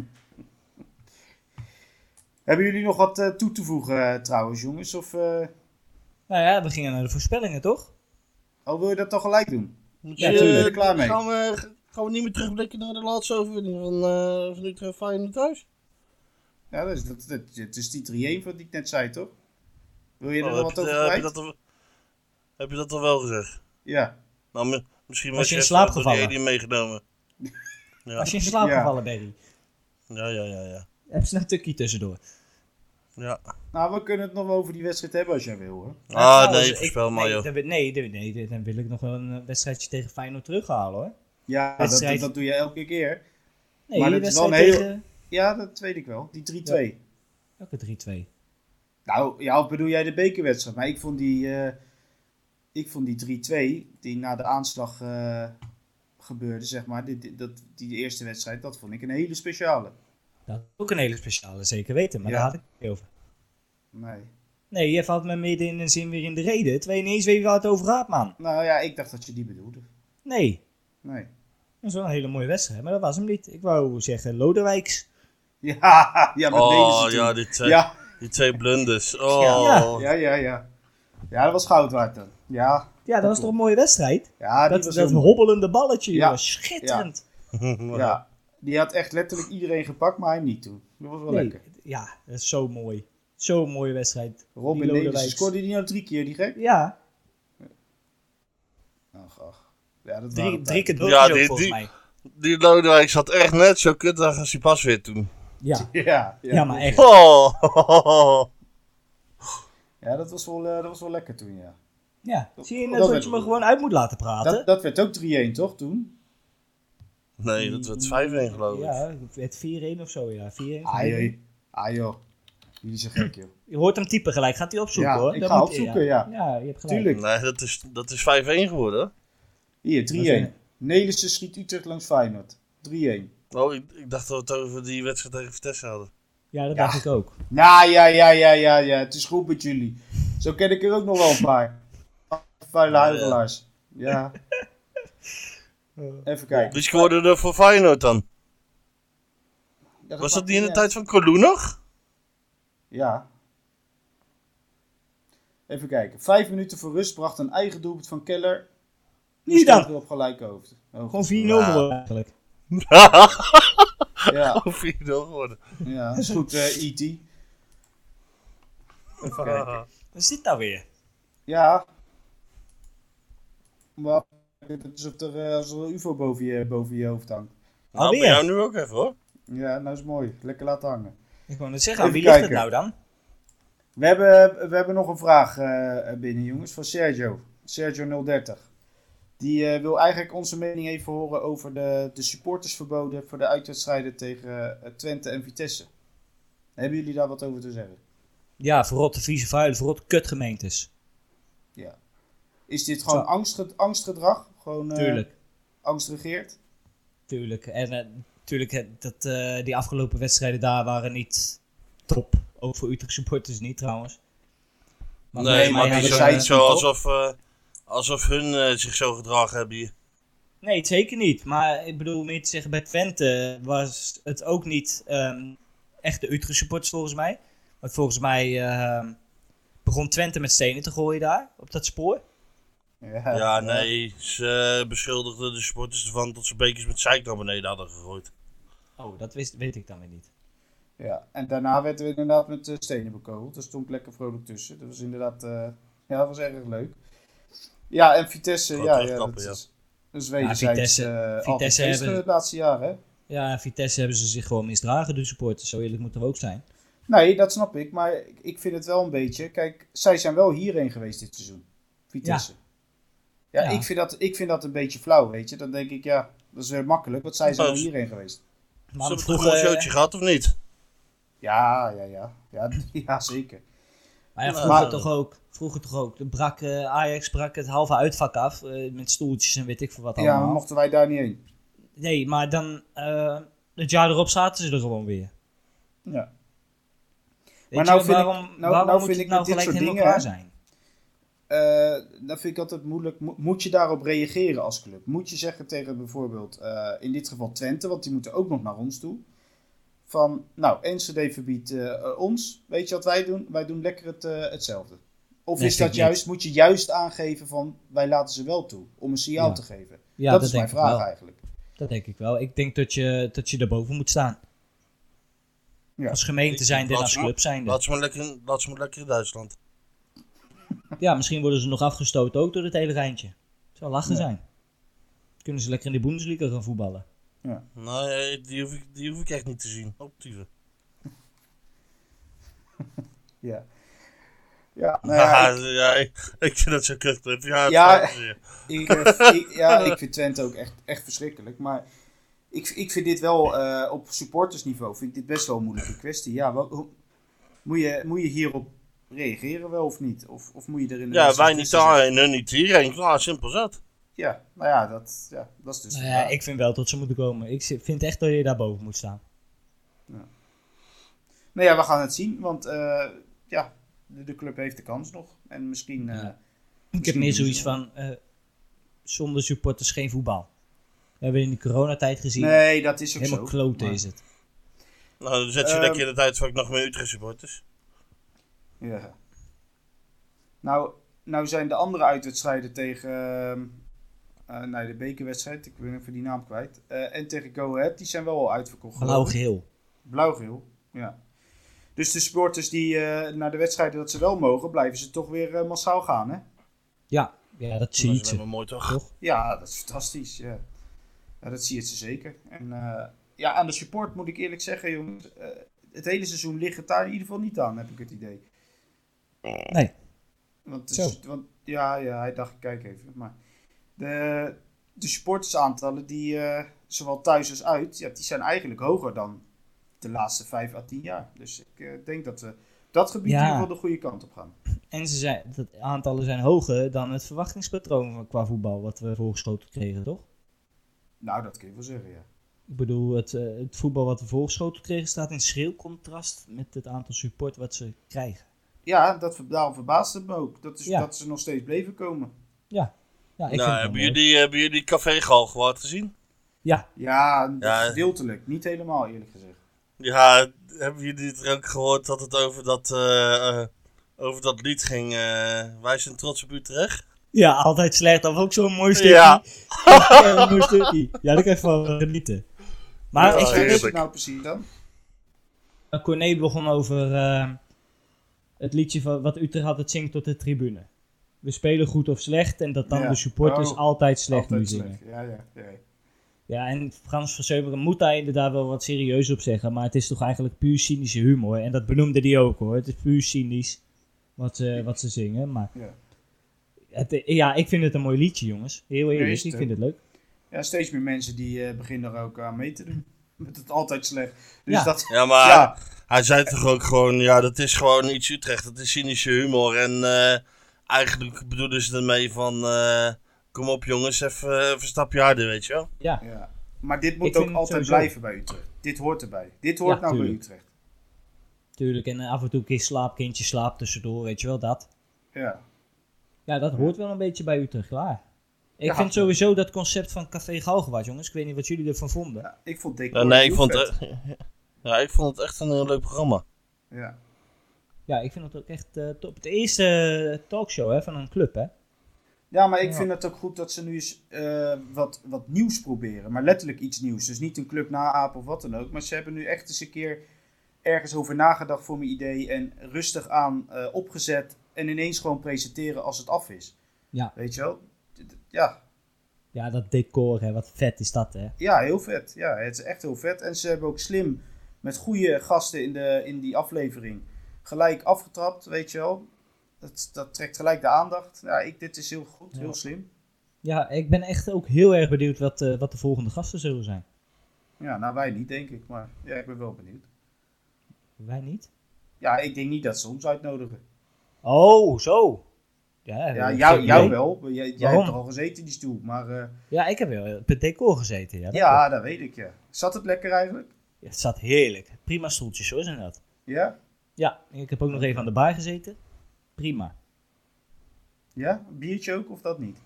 Speaker 1: Hebben jullie nog wat eh, toe te voegen eh, trouwens, jongens? Of eh,
Speaker 3: Nou ja, we gingen naar de voorspellingen toch?
Speaker 1: oh, wil je dat dan gelijk doen?
Speaker 2: Moet
Speaker 1: Ja,
Speaker 2: je,
Speaker 1: tuurlijk.
Speaker 2: eh,
Speaker 1: Klaar mee.
Speaker 2: Gaan we, gaan we niet meer terugblikken naar de laatste overwinning van, eh van Utrecht Feyenoord thuis?
Speaker 1: Ja, dat is, dat, dat, het is die 3-1 wat ik net zei, toch? Wil je er
Speaker 2: Oh,
Speaker 1: nog
Speaker 2: heb,
Speaker 1: wat
Speaker 2: je,
Speaker 1: over
Speaker 2: eh, heb, je
Speaker 1: kwijt?
Speaker 2: dat al, heb je dat al wel gezegd?
Speaker 1: Ja.
Speaker 2: Nou, mi- misschien was,
Speaker 3: je in
Speaker 2: echt
Speaker 3: slaap
Speaker 2: door die
Speaker 3: gevallen?
Speaker 2: alien meegenomen. Ja.
Speaker 3: Als je in slaap
Speaker 1: Ja.
Speaker 3: gevallen, Barry.
Speaker 2: Ja, ja, ja, ja.
Speaker 3: Heb ze een tukkie tussendoor.
Speaker 2: ja.
Speaker 1: Nou, we kunnen het nog wel over die wedstrijd hebben als jij wil, hoor.
Speaker 3: Nou,
Speaker 2: Ah,
Speaker 3: trouwens,
Speaker 2: nee,
Speaker 3: ik-
Speaker 2: voorspel maar,
Speaker 3: nee,
Speaker 2: joh.
Speaker 3: dan wil- Nee, nee, nee, nee, dan wil ik nog wel een eh, wedstrijdje tegen Feyenoord terughalen hoor.
Speaker 1: Ja, dat,
Speaker 3: Wedstrijd.
Speaker 1: dat doe je elke keer.
Speaker 3: Nee,
Speaker 1: Maar
Speaker 3: die
Speaker 1: dat is wel
Speaker 3: wedstrijd
Speaker 1: een hele-
Speaker 3: tegen...
Speaker 1: Ja, dat weet ik wel. Die 3-2.
Speaker 3: Welke 3-2?
Speaker 1: Nou, ja, of bedoel jij de bekerwedstrijd? Maar ik vond die, eh, ik vond die 3-2, die na de aanslag eh, gebeurde, zeg maar. Die, die- dat, die eerste wedstrijd, dat vond ik een hele speciale.
Speaker 3: Dat is ook een hele speciale, zeker weten. Maar
Speaker 1: Ja.
Speaker 3: daar had ik het niet over.
Speaker 1: Nee.
Speaker 3: Nee, je valt me midden in een zin weer in de reden. Terwijl je niet eens weet waar het over gaat, man.
Speaker 1: Nou ja, ik dacht dat je die bedoelde.
Speaker 3: Nee,
Speaker 1: Nee.
Speaker 3: dat is wel een hele mooie wedstrijd. Maar dat was hem niet. Ik wou zeggen Lodewijks.
Speaker 1: Ja, ja, met
Speaker 2: Oh,
Speaker 1: deze
Speaker 2: ja,
Speaker 1: toen.
Speaker 2: die twee,
Speaker 1: ja,
Speaker 2: die twee blunders. Oh.
Speaker 3: Ja.
Speaker 1: ja, ja, ja. Ja, dat was goud waard dan. Ja,
Speaker 3: Ja, dat was toch een mooie wedstrijd?
Speaker 1: ja die
Speaker 3: Dat,
Speaker 1: was
Speaker 3: dat
Speaker 1: heel mooi.
Speaker 3: hobbelende balletje,
Speaker 1: Ja.
Speaker 3: joh. Schitterend.
Speaker 1: Ja, die had echt letterlijk iedereen gepakt, maar hij niet toen. Dat was wel
Speaker 3: Nee,
Speaker 1: lekker.
Speaker 3: ja, dat is zo mooi. Zo'n mooie wedstrijd.
Speaker 1: Robin
Speaker 3: Die
Speaker 1: Nederlandse
Speaker 3: Lodewijks.
Speaker 1: scoorde die nou drie keer, die gek?
Speaker 3: Ja,
Speaker 1: Ach, ach. Ja, dat
Speaker 3: drie,
Speaker 1: waren
Speaker 3: drie
Speaker 1: tijden.
Speaker 3: keer door
Speaker 2: Ja,
Speaker 3: ook
Speaker 2: die-
Speaker 3: volgens
Speaker 2: die-
Speaker 3: mij.
Speaker 2: Die Lodewijk zat echt net zo kut daar als hij pas weer toen.
Speaker 3: Ja.
Speaker 1: Ja, ja,
Speaker 3: ja, maar echt.
Speaker 2: Oh.
Speaker 1: Ja, dat was wel, eh, dat was wel lekker toen, ja.
Speaker 3: Ja, zie je
Speaker 1: Oh,
Speaker 3: net
Speaker 1: dat
Speaker 3: dat,
Speaker 1: weet
Speaker 3: je
Speaker 1: ik
Speaker 3: me
Speaker 1: wel.
Speaker 3: gewoon uit moet laten praten?
Speaker 1: Dat, dat werd ook 3-1, toch, toen?
Speaker 2: Nee, dat werd 5-1 geloof ik.
Speaker 3: ja, het 4-1 of zo, ja. 4-1.
Speaker 1: Ah, joh. Ah, joh. Jullie zijn gek, joh.
Speaker 3: Je hoort hem typen gelijk, gaat hij opzoeken
Speaker 1: Ja,
Speaker 3: hoor.
Speaker 1: ik
Speaker 3: Dat
Speaker 1: ga
Speaker 3: moet-
Speaker 1: opzoeken, ja.
Speaker 3: Ja, je hebt gelijk.
Speaker 1: Tuurlijk.
Speaker 2: Nee, dat is, dat is 5-1 geworden.
Speaker 1: Hier, 3-1. Nelissen schiet Utrecht langs Feyenoord. 3-1.
Speaker 2: Oh, ik, ik dacht dat we het over die wedstrijd tegen Vitesse hadden.
Speaker 3: Ja, dat
Speaker 1: Ja.
Speaker 3: dacht ik ook.
Speaker 1: Nou ja, ja, ja, ja, ja. Het is goed met jullie. Zo ken ik er ook nog wel een paar. Vuile
Speaker 2: Ja.
Speaker 1: huigelaars. Ja. Even kijken.
Speaker 2: Die scoorde er voor Feyenoord dan.
Speaker 1: Ja, dat
Speaker 2: Was
Speaker 1: maakt
Speaker 2: dat niet in de
Speaker 1: uit.
Speaker 2: tijd van Colou nog?
Speaker 1: Ja. Even kijken. Vijf minuten voor rust bracht een eigen doelpunt van Keller. Die
Speaker 3: Niet dan.
Speaker 1: stond weer op gelijke hoofd. Oh, hoogte.
Speaker 3: Gewoon 4-0
Speaker 2: Nou.
Speaker 3: geworden eigenlijk.
Speaker 1: Ja,
Speaker 2: Of 4-0 geworden.
Speaker 1: ja. Is goed, eh, E.T. Even kijken.
Speaker 3: Wat is dit nou weer?
Speaker 1: Ja. Maar het is alsof er, eh, als er een ufo boven je, boven je hoofd hangt.
Speaker 2: Nou, bij
Speaker 3: Alweer?
Speaker 2: jou nu ook even hoor.
Speaker 1: Ja, nou is mooi. Lekker laten hangen.
Speaker 3: Ik wou net zeggen, aan
Speaker 1: Even
Speaker 3: wie ligt het nou
Speaker 1: kijken.
Speaker 3: dan?
Speaker 1: We hebben, we hebben nog een vraag eh, binnen, jongens, van Sergio. Sergio030. Die eh, wil eigenlijk onze mening even horen over de, de supportersverboden voor de uitwedstrijden tegen eh, Twente en Vitesse. Hebben jullie daar wat over te zeggen?
Speaker 3: Ja, verrotte, vieze, vuile, verrotte kutgemeentes.
Speaker 1: Is dit gewoon
Speaker 3: Ja.
Speaker 1: angstge- angstgedrag? Gewoon eh,
Speaker 3: Tuurlijk.
Speaker 1: angst regeert?
Speaker 3: Tuurlijk. En eh, tuurlijk, eh, dat, eh, die afgelopen wedstrijden daar waren niet top. Ook voor Utrecht supporters niet trouwens.
Speaker 2: nee,
Speaker 1: nee,
Speaker 2: maar
Speaker 1: maar
Speaker 2: het
Speaker 1: ja,
Speaker 2: is
Speaker 1: dat
Speaker 2: ook
Speaker 1: zei
Speaker 2: niet
Speaker 1: het
Speaker 2: zo
Speaker 1: niet,
Speaker 2: alsof, eh, alsof hun eh, zich zo gedragen hebben hier.
Speaker 3: Nee, zeker niet. Maar ik bedoel meer te zeggen, bij Twente was het ook niet ehm, echt de Utrecht supporters volgens mij. Want volgens mij ehm, begon Twente met stenen te gooien daar, op dat spoor.
Speaker 1: Ja,
Speaker 2: ja, nee. Ze eh, beschuldigden de supporters ervan dat ze bekers met zeik naar beneden hadden gegooid.
Speaker 3: Oh, dat wist, weet ik dan weer niet.
Speaker 1: Ja. En daarna werden we inderdaad met eh, stenen bekogeld. Daar stond ik lekker vrolijk tussen. Dat was inderdaad eh, ja, dat was erg leuk. Ja, en Vitesse,
Speaker 2: Gewoon
Speaker 1: ja, ja, dat
Speaker 2: terugkappen, ja.
Speaker 1: is een wederzijds
Speaker 3: Vitesse-
Speaker 1: eh,
Speaker 3: Vitesse
Speaker 1: altijd feest,
Speaker 3: hebben-
Speaker 1: eh, het laatste jaar, hè?
Speaker 3: Ja, Vitesse hebben ze zich gewoon misdragen, de supporters. Zo eerlijk moeten we ook zijn.
Speaker 1: Nee, dat snap ik. Maar ik- ik vind het wel een beetje. Kijk, zij zijn wel hierheen geweest dit seizoen. Vitesse. Ja,
Speaker 3: Ja.
Speaker 1: Ik, vind dat, ik vind dat een beetje flauw, weet je. Dan denk ik, ja, dat is weer makkelijk. Want zij zijn
Speaker 2: Oh,
Speaker 1: wel
Speaker 2: ze-
Speaker 1: hierheen geweest.
Speaker 2: Ze
Speaker 3: Maar
Speaker 2: hebben toch
Speaker 3: vroegen- eh,
Speaker 2: een showtje gehad of niet?
Speaker 1: Ja, ja, ja. Ja, ja zeker.
Speaker 3: Maar ja,
Speaker 2: Maar-
Speaker 3: vroeger toch ook. Vroeger toch ook. Er Brak, eh, Ajax brak het halve uitvak af. eh, met stoeltjes en weet ik veel wat
Speaker 1: Ja,
Speaker 3: allemaal.
Speaker 1: maar mochten wij daar niet heen.
Speaker 3: Nee, maar dan... eh, het jaar erop zaten ze er gewoon weer.
Speaker 1: Ja.
Speaker 3: Weet
Speaker 1: nou
Speaker 3: je,
Speaker 1: vind ik-
Speaker 3: waarom,
Speaker 1: nou-
Speaker 3: waarom
Speaker 1: nou
Speaker 3: moet
Speaker 1: vind
Speaker 3: het
Speaker 1: ik
Speaker 3: nou
Speaker 1: met dit
Speaker 3: gelijk
Speaker 1: soort
Speaker 3: helemaal
Speaker 1: dingen,
Speaker 3: klaar zijn?
Speaker 1: Eh dan vind ik altijd moeilijk. Mo- Moet je daarop reageren als club? Moet je zeggen tegen bijvoorbeeld, eh, in dit geval Twente, want die moeten ook nog naar ons toe. Van, nou, NCD verbiedt eh, eh, ons. Weet je wat wij doen? Wij doen lekker het, eh, hetzelfde. Of
Speaker 3: Nee,
Speaker 1: is
Speaker 3: vind
Speaker 1: dat
Speaker 3: ik niet.
Speaker 1: juist, moet je juist aangeven van, wij laten ze wel toe. Om een signaal
Speaker 3: Ja.
Speaker 1: te geven.
Speaker 3: Ja,
Speaker 1: dat,
Speaker 3: dat,
Speaker 1: is
Speaker 3: denk
Speaker 1: mijn
Speaker 3: ik
Speaker 1: vraag
Speaker 3: wel.
Speaker 1: eigenlijk.
Speaker 3: Dat denk ik wel. Ik denk dat je, dat je daarboven moet staan.
Speaker 1: Ja.
Speaker 3: Als gemeente zijnde en
Speaker 2: Laat
Speaker 3: als
Speaker 2: ze-
Speaker 3: club zijnde.
Speaker 2: Laat ze maar lekker, in- laat ze maar lekker in Duitsland.
Speaker 3: Ja, misschien worden ze nog afgestoten ook door het hele rijntje. Het zou lachen
Speaker 1: Ja.
Speaker 3: zijn. Kunnen ze lekker in de Bundesliga gaan voetballen.
Speaker 2: Nee, eh, die hoef ik, die hoef ik echt niet te zien. Oh, Optieven.
Speaker 1: Ja. Ja, nou ja,
Speaker 2: Ja,
Speaker 1: ik-
Speaker 2: ja, ik, ik vind dat zo kut. Ja, het
Speaker 1: Ja.
Speaker 2: spijt me zeer.
Speaker 1: ik, eh, ik- ja, ik vind Twente ook echt, echt verschrikkelijk. Maar ik, ik vind dit wel eh, op supportersniveau vind ik dit best wel een moeilijke kwestie. Ja, wel, hoe- moet, je, moet je hierop reageren wel of niet? Of, of moet je er in
Speaker 2: ja wij niet daar en hun niet hier. En klaar, simpel zat.
Speaker 1: Ja, nou ja, dat, ja, dat is dus.
Speaker 3: Nou
Speaker 1: de
Speaker 3: ja,
Speaker 1: vraag.
Speaker 3: ik vind wel dat ze moeten komen. Ik zi- vind echt dat je daarboven moet staan.
Speaker 1: Nou ja, we gaan het zien, want eh, ja, de, de club heeft de kans nog. En misschien. eh,
Speaker 3: Ja. Ik heb
Speaker 1: Misschien
Speaker 3: meer
Speaker 1: doen ze
Speaker 3: zoiets van, eh, zonder supporters geen voetbal. We hebben in de coronatijd gezien,
Speaker 1: nee, dat is ook
Speaker 3: helemaal
Speaker 1: zo.
Speaker 3: klote
Speaker 1: maar-
Speaker 3: is het.
Speaker 2: Nou, dan zet je
Speaker 1: Ehm.
Speaker 2: lekker in het uitvak nog meer Utrecht supporters.
Speaker 1: Ja. Nou, nou zijn de andere uitwedstrijden tegen. ehm, eh, nee, de bekerwedstrijd, ik ben even die naam kwijt. Eh, en tegen Go Ahead, die zijn wel al uitverkocht. geloof ik.
Speaker 3: Blauw-geel.
Speaker 1: Blauw-geel, ja. Dus de supporters die eh, naar de wedstrijden dat ze wel mogen, blijven ze toch weer eh, massaal gaan, hè?
Speaker 3: Ja, ja, dat zie
Speaker 2: Dat
Speaker 3: je.
Speaker 2: is helemaal mooi toch?
Speaker 3: Toch?
Speaker 1: Ja, dat is fantastisch. Ja, ja dat zie je ze zeker. En eh, ja, aan de support moet ik eerlijk zeggen, jongens. eh, het hele seizoen ligt het daar in ieder geval niet aan, heb ik het idee.
Speaker 3: Nee.
Speaker 1: Want, de
Speaker 3: Zo.
Speaker 1: su- want ja, ja, hij dacht, ik kijk even. Maar de, de supportersaantallen, die, eh, zowel thuis als uit, ja, die zijn eigenlijk hoger dan de laatste vijf à tien jaar. Dus ik eh, denk dat we op dat gebied
Speaker 3: Ja.
Speaker 1: in ieder geval de goede kant op gaan.
Speaker 3: En ze zijn, dat aantallen zijn hoger dan het verwachtingspatroon van- qua voetbal wat we voorgeschoten kregen, toch?
Speaker 1: Nou, dat kun je wel zeggen, ja.
Speaker 3: Ik bedoel, het, eh, het voetbal wat we voorgeschoten kregen staat in schril contrast met het aantal support wat ze krijgen.
Speaker 1: Ja, dat, ver- daarom verbaast het me ook. Dat, is,
Speaker 3: Ja.
Speaker 1: dat ze nog steeds bleven komen.
Speaker 3: Ja, ik vind het
Speaker 2: nou,
Speaker 3: wel
Speaker 2: hebben
Speaker 3: mooi.
Speaker 2: jullie, hebben jullie Café Galgenwaard gezien?
Speaker 1: Ja,
Speaker 2: Ja.
Speaker 1: gedeeltelijk. Niet helemaal, eerlijk gezegd.
Speaker 2: Ja, hebben jullie het er ook gehoord dat het over dat, eh, eh, over dat lied ging? eh, wij zijn trots op Utrecht.
Speaker 3: Ja, altijd slecht. Dat was ook zo'n mooi stukje.
Speaker 2: Ja.
Speaker 3: Echt een mooi stukje. Ja, daar kan je van genieten. Maar
Speaker 2: Ja,
Speaker 3: ik
Speaker 1: wat
Speaker 2: heerlijk.
Speaker 1: is het nou precies dan?
Speaker 3: Eh, Corné begon over eh, het liedje van wat Utrecht altijd zingt tot de tribune. We spelen goed of slecht en dat dan
Speaker 1: Ja.
Speaker 3: de supporters
Speaker 1: Oh,
Speaker 3: altijd slecht
Speaker 1: Altijd
Speaker 3: nu zingen.
Speaker 1: slecht. Ja, ja, ja.
Speaker 3: Ja, en Frans van Zeuberen moet daar inderdaad wel wat serieus op zeggen, maar het is toch eigenlijk puur cynische humor. En dat benoemde hij ook hoor, het is puur cynisch wat ze, wat ze zingen. Maar
Speaker 1: Ja.
Speaker 3: het, ja, ik vind het een mooi liedje jongens. Heel
Speaker 1: Nee,
Speaker 3: eerlijk,
Speaker 1: is het
Speaker 3: ik vind het leuk.
Speaker 1: ja steeds meer mensen die eh, beginnen er ook aan mee te doen. Met het altijd slecht. Dus
Speaker 3: Hm. Ja.
Speaker 1: dat...
Speaker 2: Ja, maar
Speaker 1: Ja,
Speaker 2: hij zei toch ook gewoon, ja, dat is gewoon iets Utrecht. Dat is cynische humor. En eh, eigenlijk bedoelen ze ermee van, eh, kom op jongens, even, eh, even een stapje harder, weet je wel.
Speaker 1: ja. Maar dit moet
Speaker 3: Ik
Speaker 1: ook
Speaker 3: vind het
Speaker 1: altijd
Speaker 3: sowieso-
Speaker 1: blijven bij Utrecht. Dit hoort erbij. Dit hoort
Speaker 3: Ja,
Speaker 1: nou
Speaker 3: tuurlijk.
Speaker 1: bij Utrecht.
Speaker 3: Tuurlijk, en eh, af en toe een keer slaap, kindje slaap tussendoor, weet je wel, dat.
Speaker 1: Ja.
Speaker 3: Ja, dat hoort wel een beetje bij Utrecht, klaar. Ik
Speaker 1: Ja.
Speaker 3: vind sowieso dat concept van Café Galgenwaard, jongens. Ik weet niet wat jullie ervan vonden.
Speaker 1: ja. Ik vond
Speaker 2: Ja,
Speaker 1: decor
Speaker 2: nee, ik
Speaker 1: heel
Speaker 2: vond,
Speaker 1: vet.
Speaker 2: het, ja, ik vond het echt een heel leuk programma.
Speaker 1: Ja.
Speaker 3: Ja, ik vind dat ook echt eh, top. Het eerste eh, talkshow hè, van een club, hè.
Speaker 1: ja, maar ik
Speaker 3: Ja.
Speaker 1: vind het ook goed dat ze nu eens eh, wat, wat nieuws proberen. Maar letterlijk iets nieuws. Dus niet een club naapen of wat dan ook. Maar ze hebben nu echt eens een keer ergens over nagedacht voor mijn idee. En rustig aan eh, opgezet. En ineens gewoon presenteren als het af is.
Speaker 3: Ja.
Speaker 1: Weet je wel? D- d- Ja,
Speaker 3: Ja, dat decor, hè. Wat vet is dat, hè.
Speaker 1: Ja, heel vet. Ja, het is echt heel vet. En ze hebben ook slim met goede gasten in, de, in die aflevering gelijk afgetrapt, weet je wel. Dat, dat trekt gelijk de aandacht. Ja, ik, dit is heel goed,
Speaker 3: Ja.
Speaker 1: heel slim.
Speaker 3: Ja, ik ben echt ook heel erg benieuwd wat, eh, wat de volgende gasten zullen zijn.
Speaker 1: Ja, nou wij niet, denk ik. Maar ja, ik ben wel benieuwd.
Speaker 3: Wij niet.
Speaker 1: Ja, ik denk niet dat ze ons uitnodigen.
Speaker 3: Oh, zo. Ja,
Speaker 1: Ja,
Speaker 3: eh,
Speaker 1: jou,
Speaker 3: geen
Speaker 1: jou
Speaker 3: idee.
Speaker 1: wel. Jij, jij
Speaker 3: Waarom?
Speaker 1: hebt er al gezeten in die stoel. Maar eh,
Speaker 3: Ja, ik heb wel op het decor gezeten, ja.
Speaker 1: ja,
Speaker 3: dat klopt.
Speaker 1: dat weet ik, ja. Zat het lekker eigenlijk?
Speaker 3: Ja, Het zat heerlijk. Prima stoeltjes, hoor, zijn dat.
Speaker 1: Ja?
Speaker 3: Ja, ik heb ook nog even aan de bar gezeten. Prima.
Speaker 1: Ja? Een biertje ook of dat niet?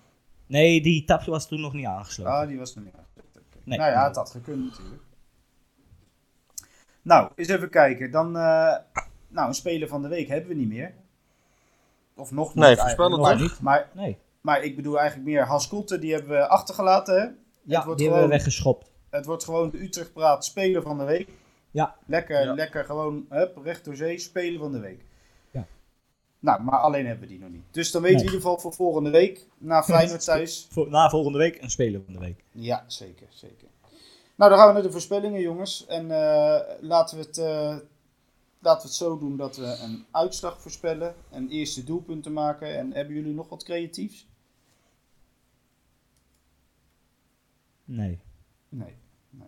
Speaker 3: Nee, die tapje was toen nog niet aangesloten.
Speaker 1: Ah, die was nog niet aangezet. Oké.
Speaker 3: Nee.
Speaker 1: nou ja, het had gekund natuurlijk. Nou, eens even kijken. Dan, eh, nou, een speler van de week hebben we niet meer. Of nog niet.
Speaker 2: Nee,
Speaker 1: eigenlijk.
Speaker 2: voorspel het
Speaker 1: maar,
Speaker 3: toch?
Speaker 1: Maar,
Speaker 3: Nee.
Speaker 1: maar ik bedoel eigenlijk meer Haskotte, die hebben we achtergelaten. Hè?
Speaker 3: Ja,
Speaker 1: wordt
Speaker 3: die hebben we
Speaker 1: gewoon-
Speaker 3: weggeschopt.
Speaker 1: Het wordt gewoon de Utrecht Praat Speler van de Week.
Speaker 3: Ja.
Speaker 1: Lekker,
Speaker 2: Ja.
Speaker 1: lekker gewoon hup, recht door zee, Speler van de Week.
Speaker 3: Ja.
Speaker 1: Nou, maar alleen hebben we die nog niet. Dus dan weten
Speaker 3: Nee.
Speaker 1: we in ieder geval voor volgende week. Na Feyenoord thuis.
Speaker 3: Voor, na volgende week een speler van de week.
Speaker 1: Ja, zeker, zeker. Nou, dan gaan we naar de voorspellingen, jongens. En eh, laten, we het, eh, laten we het zo doen dat we een uitslag voorspellen. Een eerste doelpunten maken. En hebben jullie nog wat creatiefs?
Speaker 3: Nee.
Speaker 1: Nee. Nee.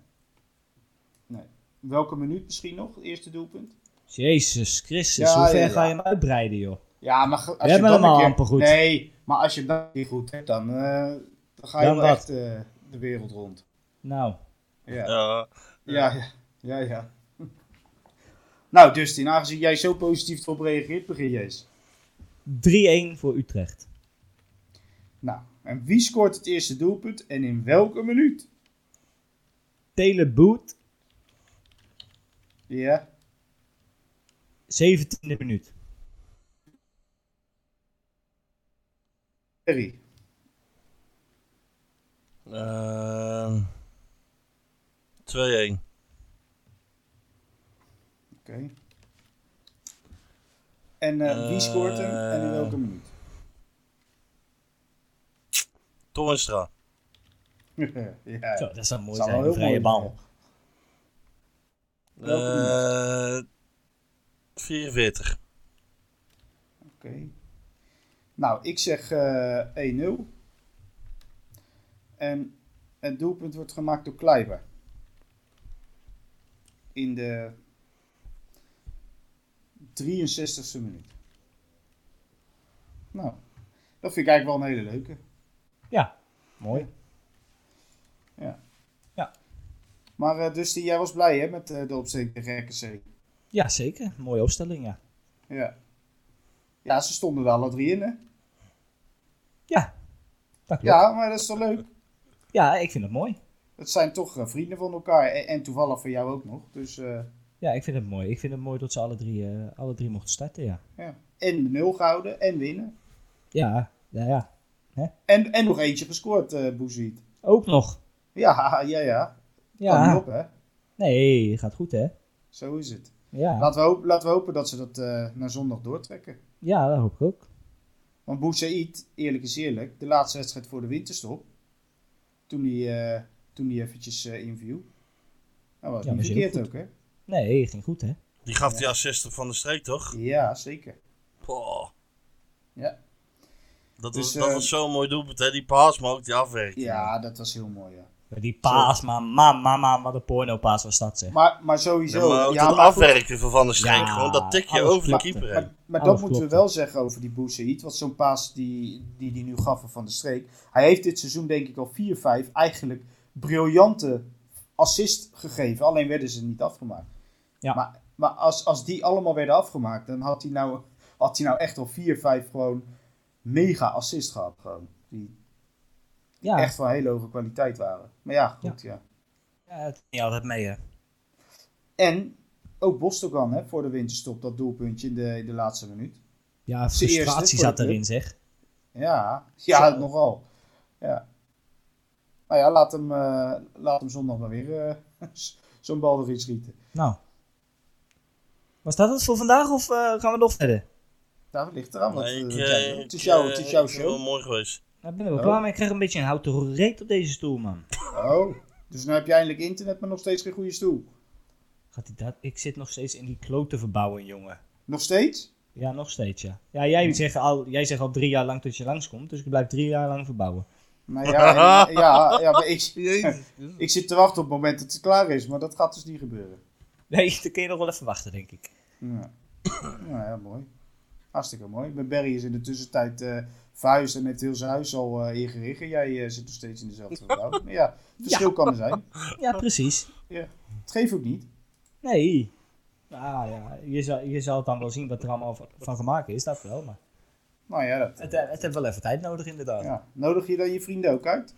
Speaker 1: nee. Welke minuut misschien nog? Het eerste doelpunt?
Speaker 3: Jezus Christus,
Speaker 1: Ja,
Speaker 3: hoe ver
Speaker 1: ja, ja.
Speaker 3: ga je hem uitbreiden, joh?
Speaker 1: Ja, maar ge- als
Speaker 3: hebben
Speaker 1: dan een
Speaker 3: hem al
Speaker 1: keer-
Speaker 3: amper goed.
Speaker 1: Nee, maar als je hem dan een keer goed hebt, dan, eh, dan ga je
Speaker 3: Dan
Speaker 1: wel
Speaker 3: wat?
Speaker 1: echt eh, de wereld rond.
Speaker 3: Nou,
Speaker 1: Ja.
Speaker 2: Ja.
Speaker 1: Ja, ja, ja. ja. Nou, Dustin, aangezien jij zo positief erop reageert, begin jij eens.
Speaker 3: 3-1 voor Utrecht.
Speaker 1: Nou, en wie scoort het eerste doelpunt en in welke minuut?
Speaker 3: Teleboot,
Speaker 1: Ja,
Speaker 3: 17e minuut.
Speaker 1: Perry.
Speaker 2: Ehm, 2-1.
Speaker 1: Oké. En eh, wie scoort hem en in
Speaker 3: Eh.
Speaker 1: welke minuut?
Speaker 2: Toornstra.
Speaker 1: ja,
Speaker 3: Zo, dat zou mooi
Speaker 1: zou wel
Speaker 3: zijn,
Speaker 1: heel
Speaker 3: een vrije
Speaker 1: mooi
Speaker 3: bal.
Speaker 1: zijn. Welke
Speaker 2: Eh 44.
Speaker 1: oké. Nou, ik zeg eh, 1-0. En het doelpunt wordt gemaakt door Kleiber. In de 63ste minuut. Nou, dat vind ik eigenlijk wel een hele leuke.
Speaker 3: Ja, mooi.
Speaker 1: Maar eh, dus die, jij was blij hè, met eh, de opstelling tegen RKC.
Speaker 3: Ja, zeker. Mooie opstelling, ja.
Speaker 1: Ja. ja, ze stonden er alle drie in hè.
Speaker 3: Ja, dat klopt. Ja,
Speaker 1: Ja, maar dat is toch leuk?
Speaker 3: ik vind het mooi.
Speaker 1: Het zijn toch eh, vrienden van elkaar en, en toevallig van jou ook nog. Dus eh,
Speaker 3: Ja, ik vind het mooi. Ik vind het mooi dat ze alle drie, eh, alle drie mochten starten, ja.
Speaker 1: ja. En de nul gehouden en winnen.
Speaker 3: Ja, ja, ja.
Speaker 1: En, en nog eentje gescoord, eh Boeziet.
Speaker 3: Ook nog.
Speaker 1: Ja, ja, ja. Kan niet
Speaker 3: Ja.
Speaker 1: op hè.
Speaker 3: Nee, gaat goed, hè?
Speaker 1: Zo is het.
Speaker 3: Ja,
Speaker 1: Laten, we hopen, laten we hopen dat ze dat eh, naar zondag doortrekken.
Speaker 3: ja dat hoop ik ook.
Speaker 1: Want Boussaïd, eerlijk is eerlijk, de laatste wedstrijd voor de winterstop. Toen hij, eh, toen hij eventjes eh inviel. Nou, was
Speaker 3: Ja,
Speaker 1: niet
Speaker 3: was heel
Speaker 1: verkeerd ook, hè?
Speaker 3: Nee, ging goed, hè?
Speaker 2: Die gaf die assist van de streek, toch?
Speaker 1: Ja, zeker.
Speaker 2: Poh.
Speaker 1: Ja.
Speaker 2: Dat,
Speaker 1: Dus,
Speaker 2: was,
Speaker 1: eh,
Speaker 2: dat was zo'n mooi doelpunt, hè? Die paas, maar ook die afwerking.
Speaker 1: Ja, dat was heel mooi, ja.
Speaker 3: Die paas, maar man, man, man, wat een pornopaas was dat, zeg.
Speaker 1: Maar, maar sowieso...
Speaker 2: Ja, maar ook dat
Speaker 1: maar goed,
Speaker 2: afwerken van Van der Streek.
Speaker 3: Ja,
Speaker 2: gewoon dat tikje
Speaker 3: alles
Speaker 2: over de
Speaker 3: klapte.
Speaker 2: keeper heen.
Speaker 1: Maar, maar dat
Speaker 3: Alles
Speaker 1: moeten we
Speaker 3: Oh, klopt,
Speaker 1: wel zeggen over die Boussaïd. Want zo'n paas die die, die nu gaf van Van de Streek. Hij heeft dit seizoen denk ik al 4-5 eigenlijk briljante assist gegeven. Alleen werden ze niet afgemaakt.
Speaker 3: Ja.
Speaker 1: Maar, maar als, als die allemaal werden afgemaakt, dan had hij nou, had hij nou echt al 4-5 gewoon mega assist gehad. Gewoon. Die
Speaker 3: Ja,
Speaker 1: echt van hele hoge kwaliteit waren. Maar ja, goed ja.
Speaker 3: ja, het ging niet altijd mee, hè?
Speaker 1: En ook Bostokan hè, voor de winterstop, dat doelpuntje in de, in de laatste minuut.
Speaker 3: Ja,
Speaker 1: Zijn eerste voor
Speaker 3: frustratie
Speaker 1: de
Speaker 3: zat
Speaker 1: club.
Speaker 3: erin, zeg.
Speaker 1: Ja, ja,
Speaker 3: Zo.
Speaker 1: nogal. Ja. Nou ja, laat hem, eh, laat hem zondag maar weer eh, zo'n bal erin schieten.
Speaker 3: Nou. Was dat het voor vandaag, of eh, gaan we nog verder?
Speaker 1: Daar ligt eraan. Wat,
Speaker 2: Nee, ik,
Speaker 1: eh,
Speaker 2: eh,
Speaker 1: het is
Speaker 2: ik,
Speaker 1: jouw,
Speaker 2: eh,
Speaker 1: het is jouw
Speaker 2: ik vind het wel
Speaker 1: show.
Speaker 2: mooi geweest.
Speaker 3: Nou, ik ben er wel
Speaker 1: Oh.
Speaker 3: klaar mee. Ik krijg een beetje een houten reet op deze stoel, man.
Speaker 1: Oh, dus nu heb je eindelijk internet, maar nog steeds geen goede stoel.
Speaker 3: Gaat die dat? Ik zit nog steeds in die klote verbouwen, jongen.
Speaker 1: Nog steeds?
Speaker 3: Ja, nog steeds, ja. Ja, jij zegt al, jij zegt al drie jaar lang dat je langskomt, dus ik blijf drie jaar lang verbouwen.
Speaker 1: Nou ja, en- ja, ja maar ik, ik zit te wachten op het moment dat het klaar is, maar dat gaat dus niet gebeuren.
Speaker 3: Nee, dan kun je nog wel even wachten, denk ik.
Speaker 1: Ja, nou ja, mooi. Hartstikke mooi. Mijn Barry is in de tussentijd eh verhuisd en heeft heel zijn huis al eh, ingericht. En jij eh, zit nog steeds in dezelfde gebouw. Maar ja, het verschil kan er zijn.
Speaker 3: Ja, precies.
Speaker 1: Het geeft ook niet.
Speaker 3: Nee. Nou ja, je zal, je zal dan wel zien wat er allemaal van- van gemaakt is, dat wel. Maar
Speaker 1: Nou ja, dat,
Speaker 3: het, eh, het heeft wel even tijd nodig, inderdaad.
Speaker 1: ja. nodig je dan je vrienden ook uit?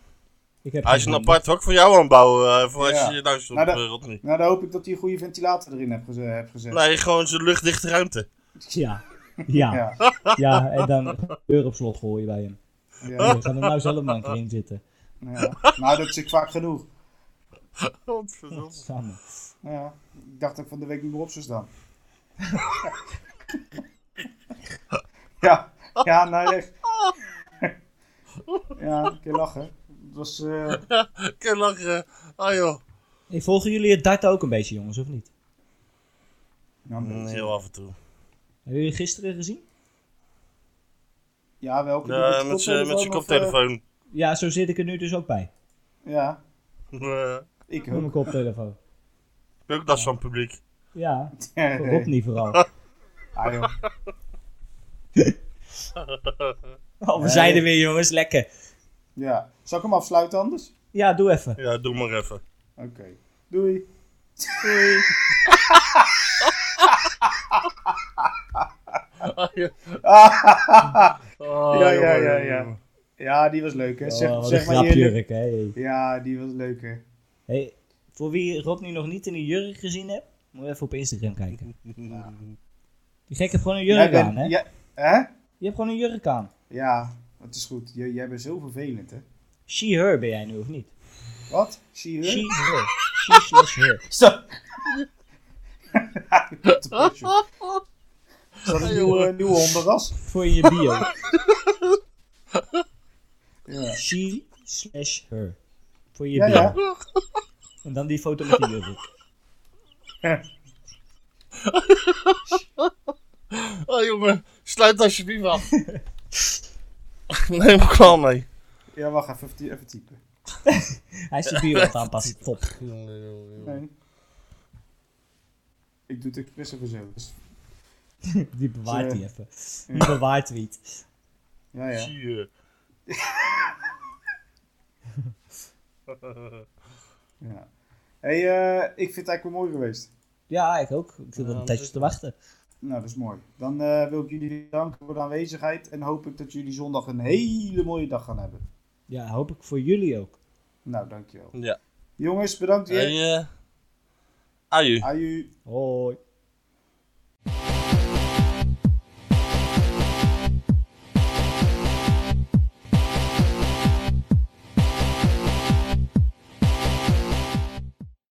Speaker 3: Ik heb
Speaker 2: Hij is
Speaker 3: geen
Speaker 2: een
Speaker 3: idee.
Speaker 2: apart hok voor jou aan het bouwen, eh, voor als
Speaker 1: Ja.
Speaker 2: je je luistert
Speaker 1: Maar
Speaker 2: op
Speaker 1: dat-
Speaker 2: eh, Rodney.
Speaker 1: Nou, dan hoop ik dat je een goede ventilator erin hebt, geze- hebt gezet.
Speaker 2: Nee, gewoon zo'n luchtdichte ruimte.
Speaker 3: Ja. Ja. ja.
Speaker 1: Ja,
Speaker 3: en dan de deur op slot gooien bij hem.
Speaker 1: ja,
Speaker 3: We gaan er nou zelf maar een keer in zitten.
Speaker 1: ja. Nou, dat is ik vaak genoeg.
Speaker 3: Samen.
Speaker 1: Ja. Ik dacht dat ik van de week niet meer op zou staan. ja, ja, nou echt. ja, een keer lachen. Het was, eh,
Speaker 2: Ik kan lachen. Ah joh.
Speaker 3: Hey, volgen jullie het darten ook een beetje, jongens, of niet?
Speaker 1: nou, een
Speaker 2: Mm,
Speaker 1: beetje-
Speaker 2: Heel af en toe.
Speaker 3: Hebben jullie gisteren gezien?
Speaker 1: Ja, welke? doe je
Speaker 2: Ja, met z'n- met zijn
Speaker 1: of, eh,
Speaker 2: koptelefoon.
Speaker 3: Ja, zo zit ik er nu dus ook bij.
Speaker 1: ja,
Speaker 2: Eh,
Speaker 1: ik
Speaker 3: Met mijn
Speaker 1: ook.
Speaker 3: koptelefoon.
Speaker 2: ik heb ook last van het publiek.
Speaker 3: Ja,
Speaker 1: Ja,
Speaker 3: Rob niet vooral.
Speaker 1: Ah, joh.
Speaker 3: Oh, we
Speaker 1: Ja,
Speaker 3: zijn
Speaker 1: ja.
Speaker 3: er weer, jongens. Lekker.
Speaker 1: ja. Zal ik hem afsluiten anders?
Speaker 3: Ja, doe even.
Speaker 2: Ja, doe maar even.
Speaker 1: Oké. Doei.
Speaker 2: Ah, joh.
Speaker 1: Ja,
Speaker 2: Ah,
Speaker 1: ja,
Speaker 2: jongen,
Speaker 1: ja,
Speaker 2: jongen,
Speaker 1: ja.
Speaker 2: jongen.
Speaker 1: Ja, die was leuk, hè? Zeg,
Speaker 3: Oh, wat een
Speaker 1: zeg maar eerlijk.
Speaker 3: grapjurk, hè.
Speaker 1: Ja, die was leuk, hè?
Speaker 3: Hey, voor wie Rob nu nog niet in een jurk gezien hebt, moet je even op Instagram kijken. Die gek heeft gewoon een jurk
Speaker 1: Jij bent-
Speaker 3: aan, hè?
Speaker 1: ja- hè?
Speaker 3: Je hebt gewoon een jurk aan.
Speaker 1: Ja, het is goed. J- jij bent zo vervelend, hè?
Speaker 3: She-her ben jij nu, of niet?
Speaker 1: Wat? Zie je?
Speaker 3: She-her. She slash her.
Speaker 1: Stop! Is dat een nieuwe, nieuwe hondenras?
Speaker 3: Voor in je bio.
Speaker 1: Ja.
Speaker 3: She slash her. Voor in je
Speaker 1: Ja,
Speaker 3: bio.
Speaker 1: ja.
Speaker 3: En dan die foto met die jurk.
Speaker 2: Ah, jongen, sluit alsjeblieft af. Nee, maar klaar mee.
Speaker 1: Ja, wacht even, even, even typen.
Speaker 3: Hij is de bio aan het aanpassen. Top.
Speaker 1: Nee. Ik doe het expres even zo.
Speaker 3: Die bewaart hij even. Die
Speaker 1: Ja.
Speaker 3: bewaart hij het.
Speaker 1: Ja, ja.
Speaker 2: Zie je.
Speaker 1: ja. hey, eh, ik vind het eigenlijk wel mooi geweest.
Speaker 3: Ja, ik ook. Ik zit
Speaker 2: Ja,
Speaker 3: er een
Speaker 2: dat
Speaker 3: tijdje
Speaker 2: is-
Speaker 3: te wachten.
Speaker 1: Nou, dat is mooi. Dan eh, wil ik jullie danken voor de aanwezigheid. En hoop ik dat jullie zondag een hele mooie dag gaan hebben.
Speaker 3: Ja, hoop ik voor jullie ook.
Speaker 1: Nou, dankjewel.
Speaker 2: Ja.
Speaker 1: Jongens, bedankt weer.
Speaker 2: Hey, eh, aju.
Speaker 1: Aju.
Speaker 3: Hoi.